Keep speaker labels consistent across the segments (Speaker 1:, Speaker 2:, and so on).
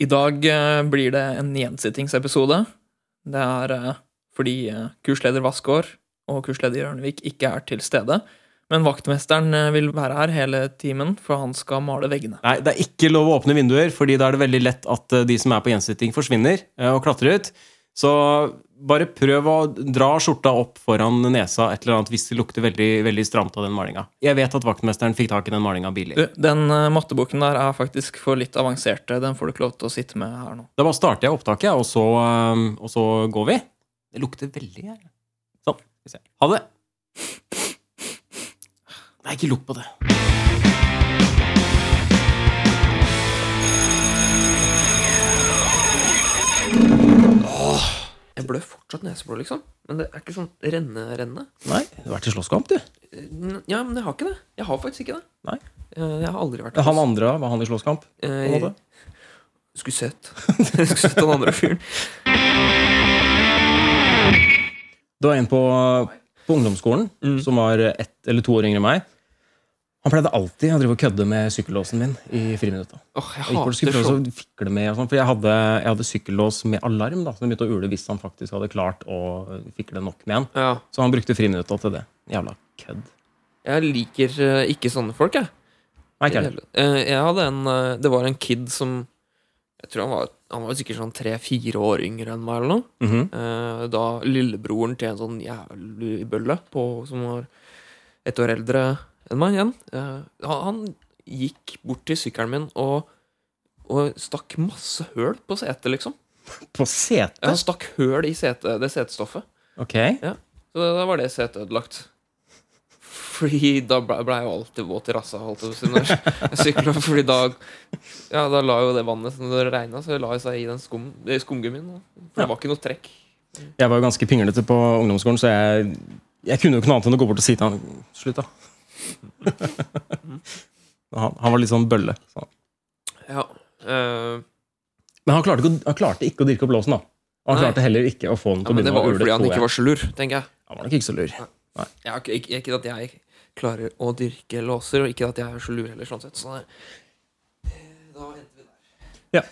Speaker 1: I dag eh, blir det en gjensittingsepisode. Det er eh, fordi eh, kursleder Vassgård og kursleder Jørnevik ikke er til stede. Men vaktmesteren eh, vil være her hele timen, for han skal male veggene.
Speaker 2: Nei, det er ikke lov å åpne vinduer, fordi da er det veldig lett at eh, de som er på gjensitting, forsvinner eh, og klatrer ut. Så bare prøv å dra skjorta opp foran nesa et eller annet hvis det lukter veldig, veldig stramt av den malinga. Jeg vet at vaktmesteren fikk tak i den malinga billig.
Speaker 1: Du, den eh, matteboken der er faktisk for litt avanserte. Den får du ikke lov til å sitte med her nå.
Speaker 2: Da bare starter jeg opptaket, og så, eh, og så går vi. Det lukter veldig her. Sånn. Skal vi se. Ha det. Nei, ikke lukt på det.
Speaker 3: Jeg blør fortsatt neseblod, liksom. Men det er ikke sånn renne-renne.
Speaker 2: Nei, du har vært i slåsskamp, du.
Speaker 3: Ja, men jeg har ikke det. Jeg har faktisk ikke det.
Speaker 2: Nei.
Speaker 3: Eh, Jeg har aldri vært
Speaker 2: Han andre, var han i slåsskamp? på en
Speaker 3: Eh,
Speaker 2: måte?
Speaker 3: Skulle sett. Skulle sett den andre fyren.
Speaker 2: Det var en på, på ungdomsskolen
Speaker 3: Mm.
Speaker 2: som var ett eller to år yngre enn meg. Han pleide alltid å drive og kødde med sykkellåsen min i friminutta.
Speaker 3: Åh, jeg
Speaker 2: Jeg gikk bort og
Speaker 3: hater
Speaker 2: skulle prøve
Speaker 3: sånn.
Speaker 2: å fikle med og sånn, for jeg hadde, jeg hadde sykkellås med alarm, da, så den begynte å ule hvis han faktisk hadde klart å fikle nok med den.
Speaker 3: Ja.
Speaker 2: Så han brukte friminutta til det. Jævla kødd.
Speaker 3: Jeg liker eh, ikke sånne folk, jeg.
Speaker 2: Nei, ikke heller.
Speaker 3: Jeg, jeg hadde en eh, Det var en kid som Jeg tror han var, han var sikkert sånn tre-fire år yngre enn meg, eller noe.
Speaker 2: Mhm.
Speaker 3: Eh, Da lillebroren til en sånn jævlig bølle på, som var ett år eldre enn meg igjen eh, Han han gikk bort til sykkelen min og, og stakk masse høl på setet, liksom.
Speaker 2: På
Speaker 3: Ja, Han
Speaker 2: setet?
Speaker 3: stakk høl i sete, det setestoffet.
Speaker 2: Ok.
Speaker 3: Så da var det setet ødelagt. Fordi da ble, ble jeg jo alltid våt i rassa holdt jeg på å si, når jeg sykla. Fordi da Ja, da la jo det vannet som det regna, så la det seg i den skum, eh, skumgummien. da. For det var ikke noe trekk.
Speaker 2: Jeg var jo ganske pinglete på ungdomsskolen, så jeg, jeg kunne jo ikke noe annet enn å gå bort og si til han Slutt, da. han, han var litt sånn bølle. Så.
Speaker 3: Ja. eh,
Speaker 2: Men han klarte, ikke, å- han klarte ikke å dirke opp låsen, da. Og han
Speaker 3: Nei.
Speaker 2: klarte heller ikke å få den
Speaker 3: ja
Speaker 2: til å
Speaker 3: men det
Speaker 2: begynne
Speaker 3: var
Speaker 2: å
Speaker 3: jo
Speaker 2: ule.
Speaker 3: fordi han
Speaker 2: tror
Speaker 3: ikke
Speaker 2: jeg.
Speaker 3: var så lur, tenker jeg.
Speaker 2: Han var nok ikke så lur.
Speaker 3: jeg har ikke, ikke, ikke at jeg klarer å dyrke låser, og ikke at jeg er så lur heller, sånn sett. Så det, eh, da endte vi der.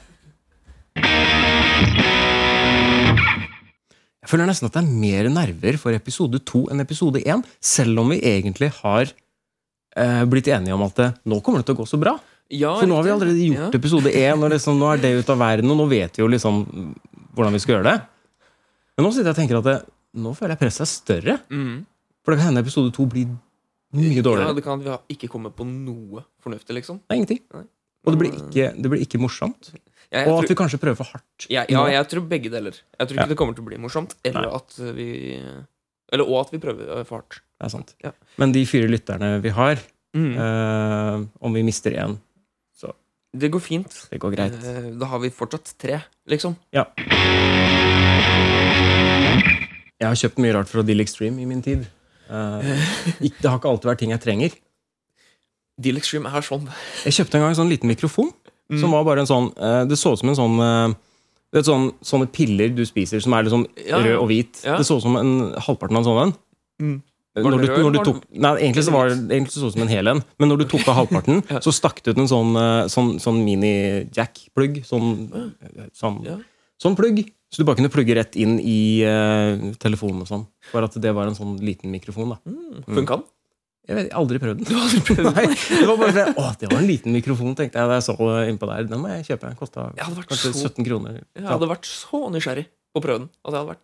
Speaker 2: Jeg føler nesten at det er mer nerver for episode to enn episode én, selv om vi egentlig har eh, blitt enige om at det, nå kommer det til å gå så bra.
Speaker 3: Ja,
Speaker 2: For nå har vi
Speaker 3: riktig.
Speaker 2: allerede
Speaker 3: Ja.
Speaker 2: gjort episode én, og liksom, nå er det ut av verden, og nå vet vi jo liksom hvordan vi skal gjøre det. Men nå sitter jeg og tenker at det, nå føler jeg presset er større.
Speaker 3: Mm.
Speaker 2: For det kan hende episode to blir mye
Speaker 3: Ja,
Speaker 2: dårligere.
Speaker 3: det kan at vi har ikke kommet på noe fornuftig, liksom.
Speaker 2: Det er ingenting.
Speaker 3: Nei.
Speaker 2: Og det blir ikke, det blir ikke morsomt.
Speaker 3: Jeg, jeg
Speaker 2: Og
Speaker 3: tror-
Speaker 2: at vi kanskje prøver for hardt.
Speaker 3: Ja, ja, jeg tror begge deler. Jeg tror ikke det kommer til å bli morsomt. Eller
Speaker 2: Nei.
Speaker 3: at vi Eller og at vi prøver eh, for hardt.
Speaker 2: Det er sant.
Speaker 3: Ja.
Speaker 2: Men de fire lytterne vi har,
Speaker 3: Eh,
Speaker 2: eh, om vi mister én,
Speaker 3: Det går fint.
Speaker 2: det går greit.
Speaker 3: Eh, Da har vi fortsatt tre, liksom.
Speaker 2: Jeg har kjøpt mye rart fra Deal Extreme i min tid. Eh, ikke- det har ikke alltid vært ting jeg trenger.
Speaker 3: Deal Extreme er sånn.
Speaker 2: Jeg kjøpte en gang en sånn liten mikrofon.
Speaker 3: Mm.
Speaker 2: Som var bare en sånn eh, Det så ut som en sånn eh, du vet, sånn, Sånne piller du spiser som er liksom
Speaker 3: Ja, ja.
Speaker 2: rød og hvit.
Speaker 3: Ja.
Speaker 2: Det så ut som en halvparten av en sånn en.
Speaker 3: Mm.
Speaker 2: Eh,
Speaker 3: Var
Speaker 2: Når
Speaker 3: det
Speaker 2: du,
Speaker 3: rød,
Speaker 2: når du
Speaker 3: var
Speaker 2: tok, nei, egentlig så var det egentlig så ut som en hel en, men når du tok av halvparten,
Speaker 3: Ja.
Speaker 2: så stakk det ut en sånn, eh, sånn, sånn mini-jack-plugg. Sånn, eh, sånn,
Speaker 3: Ja.
Speaker 2: sånn plugg. Så du bare kunne plugge rett inn i eh, telefonen og sånn. Bare at det var en sånn liten mikrofon. da Mm.
Speaker 3: Funka den?
Speaker 2: jeg vet, jeg har aldri prøvd den. Nei, det var bare sånn, Å, det var en liten mikrofon, tenkte jeg da jeg så det innpå der. Den må jeg kjøpe. Den kosta
Speaker 3: Jeg hadde vært
Speaker 2: kanskje
Speaker 3: så,
Speaker 2: 17 kroner.
Speaker 3: jeg hadde vært så nysgjerrig på å prøve den. At jeg hadde vært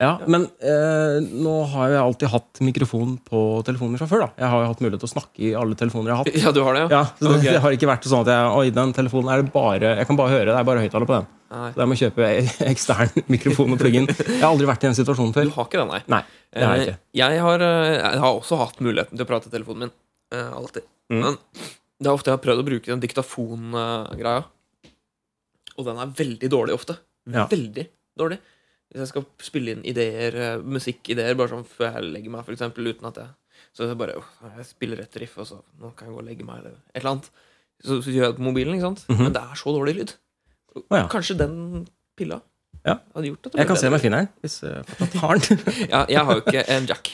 Speaker 2: Ja, Men eh, nå har jeg alltid hatt mikrofon på telefonen min fra før. da Jeg har jo hatt mulighet til å snakke i alle telefoner jeg har hatt.
Speaker 3: Ja, du har det, ja?
Speaker 2: Ja, så det,
Speaker 3: Ok.
Speaker 2: det har ikke vært sånn at jeg Oi, den telefonen er det bare Jeg kan bare høre. Det er bare høyttaler på den.
Speaker 3: Nei.
Speaker 2: Så jeg må kjøpe e- ekstern mikrofon og plugge inn. Jeg har aldri vært i den situasjonen
Speaker 3: Du
Speaker 2: før.
Speaker 3: har ikke den, nei.
Speaker 2: Nei, det har jeg
Speaker 3: Eh,
Speaker 2: ikke.
Speaker 3: Jeg har, eh, jeg har også hatt muligheten til å prate i telefonen min. eh, Alltid.
Speaker 2: Mm.
Speaker 3: Men det er ofte jeg har prøvd å bruke den diktafongreia. Og den er veldig dårlig ofte.
Speaker 2: Ja.
Speaker 3: Veldig dårlig. Hvis jeg skal spille inn ideer, eh, musikkideer, bare sånn før jeg legger meg, for eksempel, uten at jeg Så jeg bare «Åh, jeg spiller et riff, og så Nå kan jeg gå og legge meg, eller et eller annet. Så, så gjør jeg det på mobilen, ikke sant?
Speaker 2: Mhm.
Speaker 3: Men det er så dårlig lyd. Og
Speaker 2: Å, ja.
Speaker 3: Kanskje den pilla
Speaker 2: Ja.
Speaker 3: hadde gjort at det ble
Speaker 2: Jeg kan se om
Speaker 3: bedre.
Speaker 2: jeg finner eh, den. Hvis jeg fortsatt har den.
Speaker 3: Ja, jeg har jo ikke en jack.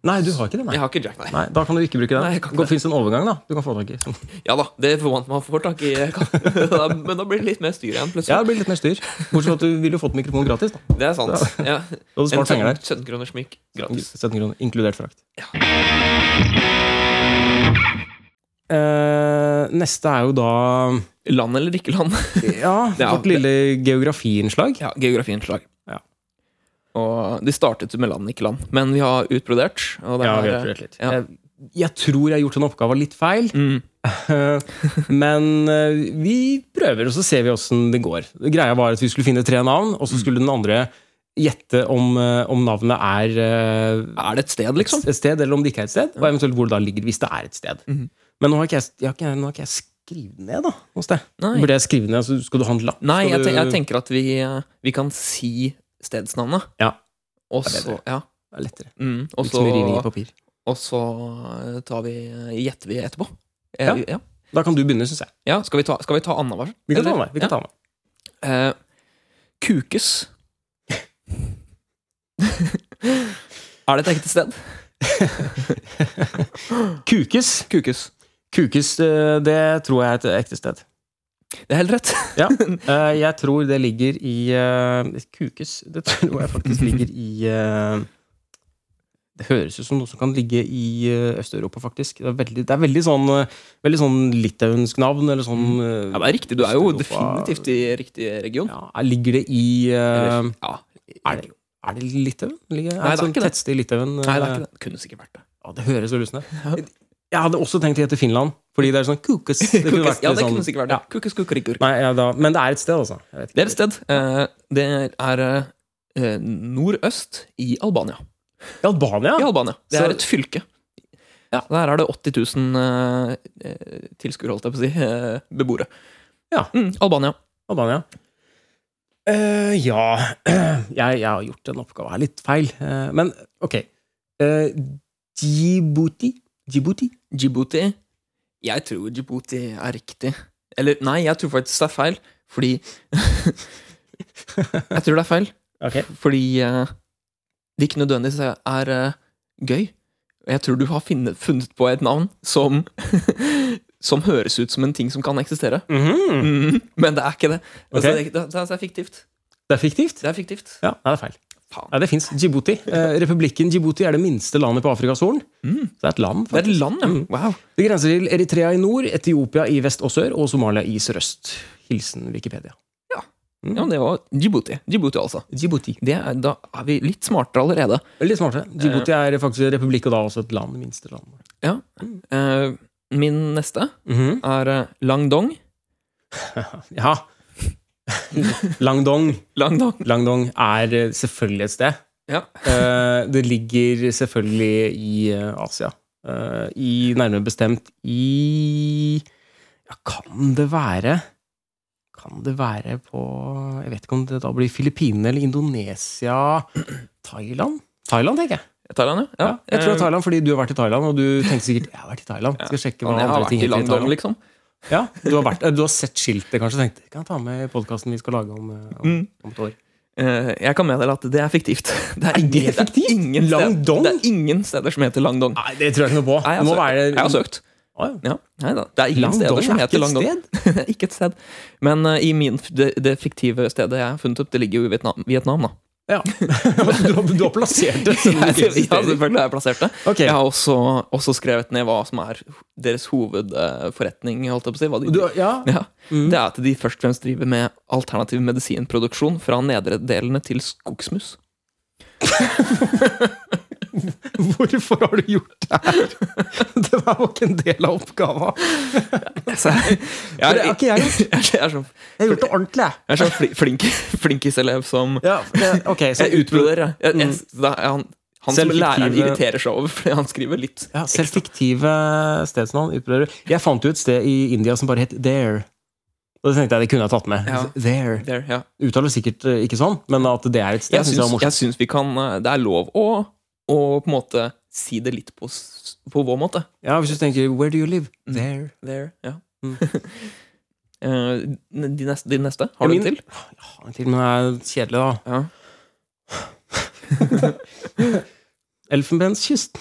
Speaker 2: Nei, du har ikke det, nei.
Speaker 3: Jeg har ikke jack, nei.
Speaker 2: nei da kan du ikke bruke den.
Speaker 3: Nei, jeg kan ikke
Speaker 2: det fins en overgang, da. Du kan få tak i.
Speaker 3: Ja da, det forventer man får tak i. da- Men da blir det litt mer styr igjen, plutselig.
Speaker 2: Ja, det blir litt mer styr. Bortsett fra at du ville jo fått mikrofon gratis. da
Speaker 3: Det er sant. Ja.
Speaker 2: Du
Speaker 3: En
Speaker 2: hadde spart penger der.
Speaker 3: 17 kroners smykk gratis.
Speaker 2: 17 kroner, inkludert frakt.
Speaker 3: Ja.
Speaker 2: Eh, neste er jo da
Speaker 3: Land eller ikke land?
Speaker 2: Ja,
Speaker 3: Ja,
Speaker 2: vårt lille geografiinnslag.
Speaker 3: Ja, geografiinnslag.
Speaker 2: Ja.
Speaker 3: Og de startet med land, ikke land. Men vi har utbrodert. Og det
Speaker 2: Ja,
Speaker 3: er,
Speaker 2: vi har prøvd litt.
Speaker 3: Ja.
Speaker 2: Jeg, jeg tror jeg har gjort den oppgaven litt feil.
Speaker 3: Mm.
Speaker 2: Eh, Men eh, vi prøver, og så ser vi åssen det går. Greia var at vi skulle finne tre navn, og
Speaker 3: Mm.
Speaker 2: så skulle den andre gjette om, eh, om navnet er eh,
Speaker 3: er det et sted, liksom?
Speaker 2: et sted, eller om det ikke er et sted. Og eventuelt hvor det da ligger, hvis det er et sted.
Speaker 3: Mhm.
Speaker 2: Men nå har ikke jeg, jeg, har ikke, nå har ikke jeg skrevet det ned da, noe sted.
Speaker 3: Nei.
Speaker 2: Burde jeg skrive ned, så skal du ha en lapp?
Speaker 3: Nei,
Speaker 2: skal
Speaker 3: jeg, ten
Speaker 2: du-
Speaker 3: jeg tenker at vi, eh, vi kan si stedsnavnet.
Speaker 2: Ja.
Speaker 3: Og
Speaker 2: Det er
Speaker 3: så ja.
Speaker 2: Det er lettere.
Speaker 3: mm. og
Speaker 2: Ikke så mye riving i
Speaker 3: så-
Speaker 2: papir.
Speaker 3: og så eh, tar vi, gjetter vi etterpå. Eh,
Speaker 2: Ja.
Speaker 3: Ja.
Speaker 2: Da kan du begynne, syns jeg.
Speaker 3: Ja, Skal vi ta, skal vi ta annenhver?
Speaker 2: Vi kan ta
Speaker 3: Eller-
Speaker 2: med. Vi kan
Speaker 3: ja.
Speaker 2: ta med.
Speaker 3: Eh, kukes. er det et ekte sted?
Speaker 2: Kukes.
Speaker 3: Kukes.
Speaker 2: Kukes, eh, det tror jeg er et ekte sted.
Speaker 3: Det er helt rett.
Speaker 2: Eh, Jeg tror det ligger i eh, Kukes, det tror jeg faktisk ligger i eh, Det høres ut som noe som kan ligge i eh, Øst-Europa, faktisk. Det er veldig, det er veldig sånn, eh, veldig sånn litauisk navn, eller sånn eh,
Speaker 3: Mm. Ja, det er riktig. Du er jo
Speaker 2: Østeuropa-
Speaker 3: definitivt i riktig region.
Speaker 2: ja, er- Ligger det i eh,
Speaker 3: Eller- ja.
Speaker 2: Er det, er det Litauen? Ligger,
Speaker 3: Nei, det
Speaker 2: er
Speaker 3: er
Speaker 2: det sånn
Speaker 3: ikke det.
Speaker 2: tettsted i Litauen?
Speaker 3: Nei, det er ikke det. Det kunne sikkert vært det.
Speaker 2: Ja, det høres veldig ut som det. Jeg hadde også tenkt å hete Finland, fordi det er sånn Kukes. Det kunne vært
Speaker 3: ja,
Speaker 2: litt
Speaker 3: det
Speaker 2: sånn-
Speaker 3: kunne sikkert vært det.
Speaker 2: Ja.
Speaker 3: Kukus, kukurikur.
Speaker 2: Nei, ja, da, men det er et sted, altså. Jeg vet ikke.
Speaker 3: Det er et sted. eh, Det er eh, nordøst i Albania.
Speaker 2: I Albania?
Speaker 3: I Albania. Det
Speaker 2: Så-
Speaker 3: er et fylke. Ja, Der er det 80 000 eh, eh, tilskuere, holdt jeg på å si, eh, beboere.
Speaker 2: Ja.
Speaker 3: Mm, Albania.
Speaker 2: Albania. Eh, ja jeg, jeg har gjort en oppgave her litt feil. Eh, men ok. Eh, Djibouti? Djibouti?
Speaker 3: Djibouti. Jeg tror Djibouti er riktig. Eller nei, jeg tror faktisk det er feil, fordi Jeg tror det er feil.
Speaker 2: Ok.
Speaker 3: Fordi eh, det ikke nødvendigvis er, er eh, gøy. Jeg tror du har finnet, funnet på et navn som Som høres ut som en ting som kan eksistere.
Speaker 2: Mm.
Speaker 3: Mhm, men det er ikke det. Altså,
Speaker 2: Ok.
Speaker 3: det, det, det er fiktivt.
Speaker 2: Det er fiktivt?
Speaker 3: Det er fiktivt.
Speaker 2: Ja, nei, det er feil.
Speaker 3: Faen.
Speaker 2: Nei, det fins. Djibouti. Eh, Republikken Djibouti er det minste landet på Afrikas Horn.
Speaker 3: Mm.
Speaker 2: Så det er et land.
Speaker 3: Det er
Speaker 2: faktisk.
Speaker 3: et land, ja.
Speaker 2: Mm.
Speaker 3: Wow.
Speaker 2: Det grenser til Eritrea i nord, Etiopia i vest og sør og Somalia i sørøst. Hilsen Wikipedia.
Speaker 3: Ja. Ja, men det var Djibouti. Djibouti, altså.
Speaker 2: Djibouti.
Speaker 3: Det er, da er vi litt smartere allerede.
Speaker 2: Litt smartere. Djibouti er faktisk en republikk, og da også et land. det Minste landet.
Speaker 3: Ja. Eh, min neste
Speaker 2: Mhm.
Speaker 3: er eh, Langdong.
Speaker 2: Ja. Langdong.
Speaker 3: Langdong.
Speaker 2: Langdong er eh, selvfølgelig et sted.
Speaker 3: Ja.
Speaker 2: Eh, Det ligger selvfølgelig i eh, Asia. Eh, I nærmere bestemt i Ja, kan det være Kan det være på Jeg vet ikke om det da blir Filippinene eller Indonesia Thailand? Thailand, tenker jeg.
Speaker 3: Thailand, ja. ja.
Speaker 2: jeg tror det
Speaker 3: Eh,
Speaker 2: er Thailand, fordi du har vært i Thailand, og du tenkte sikkert 'Jeg har vært i Thailand'. Skal sjekke hva
Speaker 3: men jeg har
Speaker 2: andre ting
Speaker 3: vært i
Speaker 2: heter i
Speaker 3: Langdong,
Speaker 2: Thailand.
Speaker 3: liksom.
Speaker 2: Ja, du har, vært, eh, du har sett skiltet, kanskje, og tenkt 'Kan jeg ta med i podkasten vi skal lage om, eh, om,
Speaker 3: Mm.
Speaker 2: om et år'?
Speaker 3: Eh, jeg kan meddele at det er fiktivt. Det er,
Speaker 2: Er
Speaker 3: ingen,
Speaker 2: det fiktivt?
Speaker 3: ingen,
Speaker 2: Langdong?
Speaker 3: Sted, det er ingen steder som heter Langdong.
Speaker 2: Nei, det tror jeg ikke noe på.
Speaker 3: Nei, jeg,
Speaker 2: det
Speaker 3: har
Speaker 2: må
Speaker 3: søkt.
Speaker 2: være
Speaker 3: jeg har søkt.
Speaker 2: Å, ja.
Speaker 3: Ja, nei da. Det er ingen
Speaker 2: Langdong
Speaker 3: steder som
Speaker 2: er ikke
Speaker 3: heter
Speaker 2: et
Speaker 3: Langdong.
Speaker 2: sted.
Speaker 3: Det er ikke et sted. Men eh, i min, det, det fiktive stedet jeg har funnet opp, det ligger jo i Vietnam, Vietnam da.
Speaker 2: Ja. du, har, du har plassert det. selv om det
Speaker 3: Jeg, jeg,
Speaker 2: ikke
Speaker 3: ja,
Speaker 2: eksisterer.
Speaker 3: selvfølgelig har jeg plassert det.
Speaker 2: Ok,
Speaker 3: Jeg har også, også skrevet ned hva som er deres hovedforretning. holdt jeg på å si, hva de,
Speaker 2: du, ja.
Speaker 3: ja.
Speaker 2: Mm.
Speaker 3: Det er at de først og fremst driver med alternativ medisinproduksjon fra nedre delene til skogsmus.
Speaker 2: Hvorfor har du gjort det her? Det der var ikke en del av oppgava.
Speaker 3: Så jeg,
Speaker 2: For det har ikke jeg
Speaker 3: jeg, er- jeg er sånn,
Speaker 2: Jeg har gjort det ordentlig, jeg.
Speaker 3: jeg er sånn fli- flink, flinkiselev som
Speaker 2: Ja, det- ok, så
Speaker 3: Jeg utbroder, jeg. jeg, jeg da, er han han som
Speaker 2: Selv
Speaker 3: læreren
Speaker 2: fiktive-
Speaker 3: irriterer seg over, fordi han skriver litt.
Speaker 2: ja, selv fiktive stedsnavn utbroder du. Jeg fant jo et sted i India som bare het There. Og det tenkte jeg det kunne jeg tatt med.
Speaker 3: Ja.
Speaker 2: There.
Speaker 3: There, ja.
Speaker 2: Uttaler sikkert eh, ikke sånn, men at det er et sted,
Speaker 3: Jeg
Speaker 2: syns jeg
Speaker 3: syns, jeg
Speaker 2: var morsomt.
Speaker 3: syns vi kan eh, Det er lov å, å på en måte si det litt på, s- på vår måte.
Speaker 2: Ja, hvis du tenker 'Where do you live?'
Speaker 3: Mm.
Speaker 2: There.
Speaker 3: There, ja.
Speaker 2: Mm.
Speaker 3: Eh, de, neste, de neste? Har du
Speaker 2: Min-
Speaker 3: en til?
Speaker 2: Ja, til, men det er kjedelig, da.
Speaker 3: Ja.
Speaker 2: Elfenbenskysten.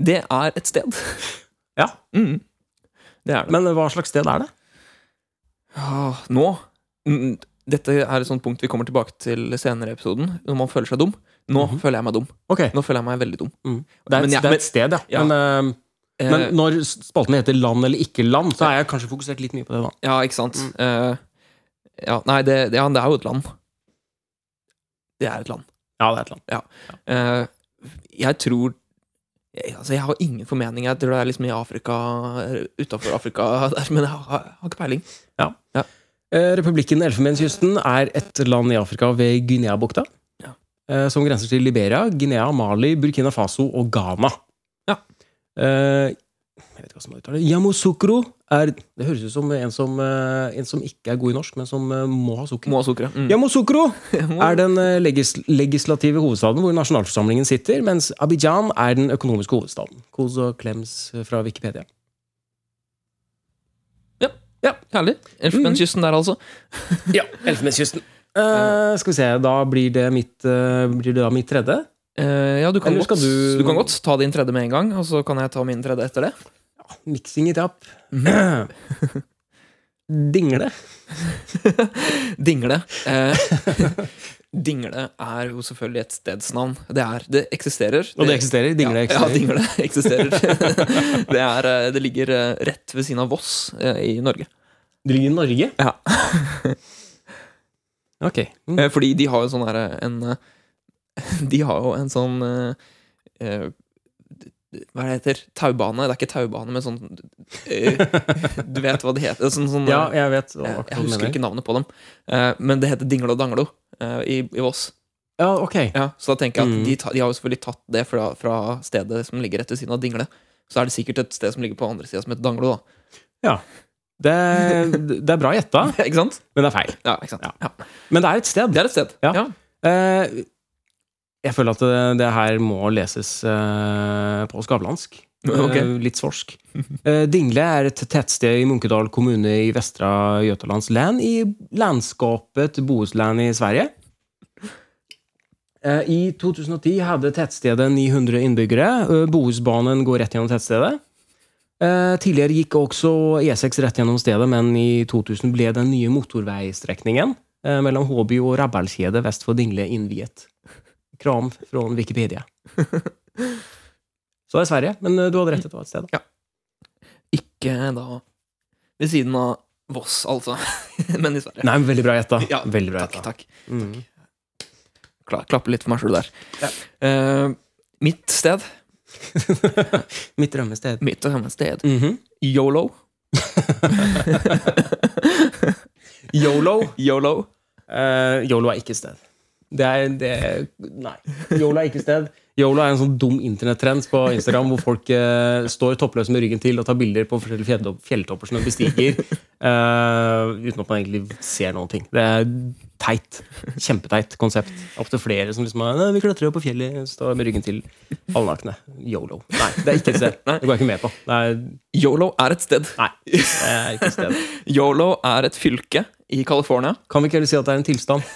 Speaker 3: Det er et sted.
Speaker 2: Ja.
Speaker 3: Mm. Det er det.
Speaker 2: Men hva slags sted er det?
Speaker 3: Ah, nå mm, Dette er et sånt punkt vi kommer tilbake til senere i episoden, når man føler seg dum. Nå
Speaker 2: Mhm.
Speaker 3: føler jeg meg dum.
Speaker 2: Ok,
Speaker 3: Nå føler jeg meg veldig dum.
Speaker 2: Det er,
Speaker 3: men
Speaker 2: et-
Speaker 3: jeg-
Speaker 2: det er et sted, ja.
Speaker 3: ja.
Speaker 2: Men, eh,
Speaker 3: Eh,
Speaker 2: men når spalten heter Land eller ikke land, så har jeg kanskje fokusert litt mye på det, da.
Speaker 3: Ja, ikke sant?
Speaker 2: Mm.
Speaker 3: Eh, ja, nei, det, det- ja, det er jo et land. Det er et land.
Speaker 2: Ja, det er et land.
Speaker 3: Eh, jeg tror jeg, altså, jeg har ingen formening. Jeg tror det er liksom i Afrika, utafor Afrika der, men jeg har, jeg har ikke peiling.
Speaker 2: Eh, Republikken Elfenbenskysten er et land i Afrika ved Guinea-bukta.
Speaker 3: Ja.
Speaker 2: eh, Som grenser til Liberia, Guinea, Mali, Burkina Faso og Ghana.
Speaker 3: Ja.
Speaker 2: Eh, jeg vet ikke hva som uttaler det. Yamoussoukro er Det høres ut som en som, eh, en som ikke er god i norsk, men som eh, må ha sukker.
Speaker 3: Må ha sukkeret. Mm.
Speaker 2: Yamoussoukro er den eh, legis legislative hovedstaden hvor nasjonalforsamlingen sitter, mens Abidjan er den økonomiske hovedstaden. Kos og klems fra Wikipedia.
Speaker 3: Herlig.
Speaker 2: Mm.
Speaker 3: Elfenbenskysten der, altså.
Speaker 2: Ja, Elfenbenskysten. Eh, skal vi se, da blir det mitt, eh, blir det da mitt tredje.
Speaker 3: Eh, ja, du kan,
Speaker 2: Eller
Speaker 3: godt,
Speaker 2: skal
Speaker 3: du...
Speaker 2: du-
Speaker 3: kan godt ta din tredje med en gang, og så kan jeg ta min tredje etter det.
Speaker 2: Miksing i tapp.
Speaker 3: Mhm.
Speaker 2: Dingle.
Speaker 3: Dingle. Eh, dingle er jo selvfølgelig et stedsnavn. Det, er, det eksisterer.
Speaker 2: Og det eksisterer. Dingle
Speaker 3: ja,
Speaker 2: eksisterer.
Speaker 3: Ja, Dingle eksisterer. det, er, eh, det ligger eh, rett ved siden av Voss eh, i Norge.
Speaker 2: Det ligger i Norge?
Speaker 3: Ja.
Speaker 2: ok. Mm.
Speaker 3: Eh, Fordi de har jo sånn her eh, en eh, De har jo en sånn eh, eh, Hva er det heter? Taubane? Det er ikke taubane, men sånn eh, Du vet hva det heter? Sånn, sånn,
Speaker 2: Ja, jeg vet hva
Speaker 3: Jeg,
Speaker 2: akkurat
Speaker 3: jeg
Speaker 2: du
Speaker 3: husker
Speaker 2: mener.
Speaker 3: ikke navnet på dem. Eh, men det heter Dingle og Danglo eh, i, i Voss.
Speaker 2: Ja, ok.
Speaker 3: Ja, så da tenker jeg at
Speaker 2: Mm.
Speaker 3: de, ta, de har jo selvfølgelig tatt det fra, fra stedet som ligger rett ved siden av Dingle. Så er det sikkert et sted som ligger på andre sida som heter Danglo, da.
Speaker 2: Det, det er bra gjetta,
Speaker 3: ikke sant?
Speaker 2: men det er feil.
Speaker 3: Ja, ikke sant?
Speaker 2: Ah. Ja.
Speaker 3: Ja.
Speaker 2: Men det er et sted.
Speaker 3: Det er et sted.
Speaker 2: Ja. Eh, jeg føler at det, det her må leses eh, på skavlansk.
Speaker 3: Ok.
Speaker 2: Eh, litt svorsk. Eh, Dingle er et tettsted i Munkedal kommune i Vestra Götalands län i landskapet Bohuslän i Sverige. Eh, I 2010 hadde tettstedet 900 innbyggere. Eh, Bohusbanen går rett gjennom tettstedet. Eh, Tidligere gikk også E6 rett gjennom stedet, men i 2000 ble den nye motorveistrekningen eh, mellom Håby og Rabalkjedet vest for Dingle innviet. Kram fra Wikipedia. Så det er Sverige, men eh, du hadde rett til å ta et sted. da.
Speaker 3: Ikke da ved siden av Voss, altså. men i Sverige.
Speaker 2: Nei, men veldig bra gjetta.
Speaker 3: Ja,
Speaker 2: veldig bra
Speaker 3: Takk,
Speaker 2: gjetta.
Speaker 3: takk.
Speaker 2: Mm.
Speaker 3: Kla- Klappe litt for meg sjøl der.
Speaker 2: Ja.
Speaker 3: Eh, mitt sted,
Speaker 2: Mitt drømmested.
Speaker 3: mitt og hennes sted,
Speaker 2: Mhm.
Speaker 3: yolo.
Speaker 2: Yolo.
Speaker 3: Yolo.
Speaker 2: Eh, Yolo er ikke et sted. Det er, det er Nei. Yolo er ikke et sted. Yolo er en sånn dum internettrend på Instagram hvor folk eh, står toppløse med ryggen til og tar bilder på forskjellige fjelltopp- fjelltopper som de bestiger, eh, uten at man egentlig ser noen ting. Det er teit. Kjempeteit konsept. Opptil flere som liksom er, «Nei, Vi klatrer jo på fjellet, står med ryggen til, halvnakne. Yolo. Nei, det er ikke et sted. Det går jeg ikke med på. Det er,
Speaker 3: Yolo er et sted.
Speaker 2: nei, det er ikke et sted.
Speaker 3: Yolo er et fylke i California.
Speaker 2: Kan vi ikke heller si at det er en tilstand?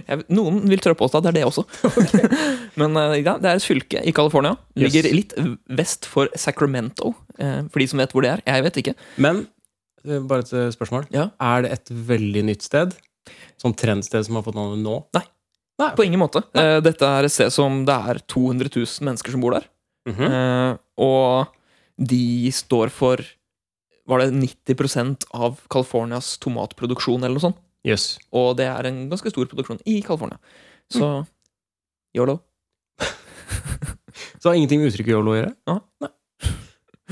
Speaker 3: Jeg, noen vil tørre påstå at det er det også. Men eh, ja, det er et fylke i California.
Speaker 2: Yes.
Speaker 3: Ligger litt vest for Sacramento, eh, for de som vet hvor det er. Jeg vet ikke.
Speaker 2: Men eh, bare et eh, spørsmål.
Speaker 3: Ja.
Speaker 2: Er det et veldig nytt sted? Sånn trendsted som har fått navnet nå?
Speaker 3: Nei.
Speaker 2: Nei.
Speaker 3: På ingen måte. Eh, Dette er et sted som det er 200 000 mennesker som bor der.
Speaker 2: Mhm.
Speaker 3: Eh, Og de står for Var det 90 av Californias tomatproduksjon, eller noe sånt?
Speaker 2: Jøss.
Speaker 3: Og det er en ganske stor produksjon i California.
Speaker 2: Mm.
Speaker 3: Så yolo.
Speaker 2: Så har ingenting med uttrykket yolo å gjøre?
Speaker 3: Ja.
Speaker 2: Nei.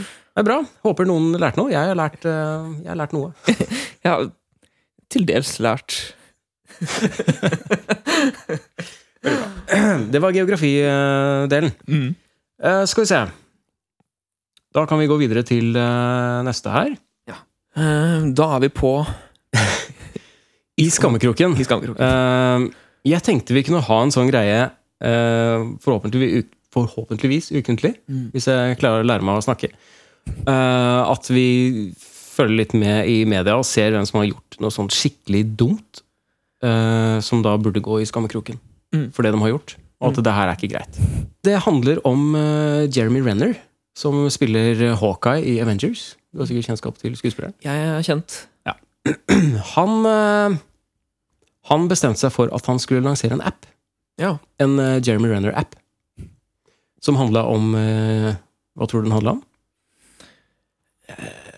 Speaker 2: Det er bra. Håper noen lærte noe. Jeg har lært, eh, jeg har lært noe.
Speaker 3: Jeg har til dels lært
Speaker 2: Det var geografidelen.
Speaker 3: mm.
Speaker 2: Eh, skal vi se. Da kan vi gå videre til eh, neste her.
Speaker 3: Eh, Da er vi på
Speaker 2: I skammekroken.
Speaker 3: i skammekroken.
Speaker 2: Eh, jeg tenkte vi kunne ha en sånn greie eh, forhåpentligvis, uk- forhåpentligvis ukentlig,
Speaker 3: Mm.
Speaker 2: hvis jeg klarer å lære meg å snakke. Eh, at vi følger litt med i media og ser hvem som har gjort noe sånt skikkelig dumt, eh, som da burde gå i skammekroken
Speaker 3: Mm.
Speaker 2: for det de har gjort. og at det her er ikke greit. Det handler om eh, Jeremy Renner, som spiller Hawkeye i Avengers. Du har sikkert kjennskap til skuespilleren.
Speaker 3: Jeg er kjent.
Speaker 2: Han, eh, han bestemte seg for at han skulle lansere en app.
Speaker 3: Ja.
Speaker 2: En eh, Jeremy Renner-app. Som handla om eh, Hva tror du den handla om?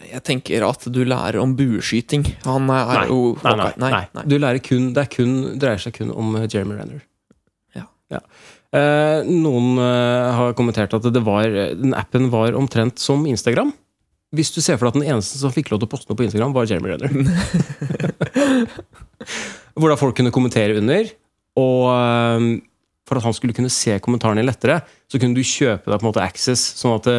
Speaker 3: Jeg tenker at du lærer om bueskyting. Han er
Speaker 2: Nei,
Speaker 3: jo
Speaker 2: Nei, nei,
Speaker 3: Hawkeye.
Speaker 2: nei. Du lærer kun, det er kun, dreier seg kun om eh, Jeremy Renner.
Speaker 3: Ja.
Speaker 2: Eh, noen eh, har kommentert at det var, eh, den appen var omtrent som Instagram. Hvis du ser for deg at den eneste som fikk lov til å poste noe på Instagram, var Jeremy Renner. Hvor da folk kunne kommentere under. Og eh, for at han skulle kunne se kommentarene lettere, så kunne du kjøpe deg på en måte access, sånn at det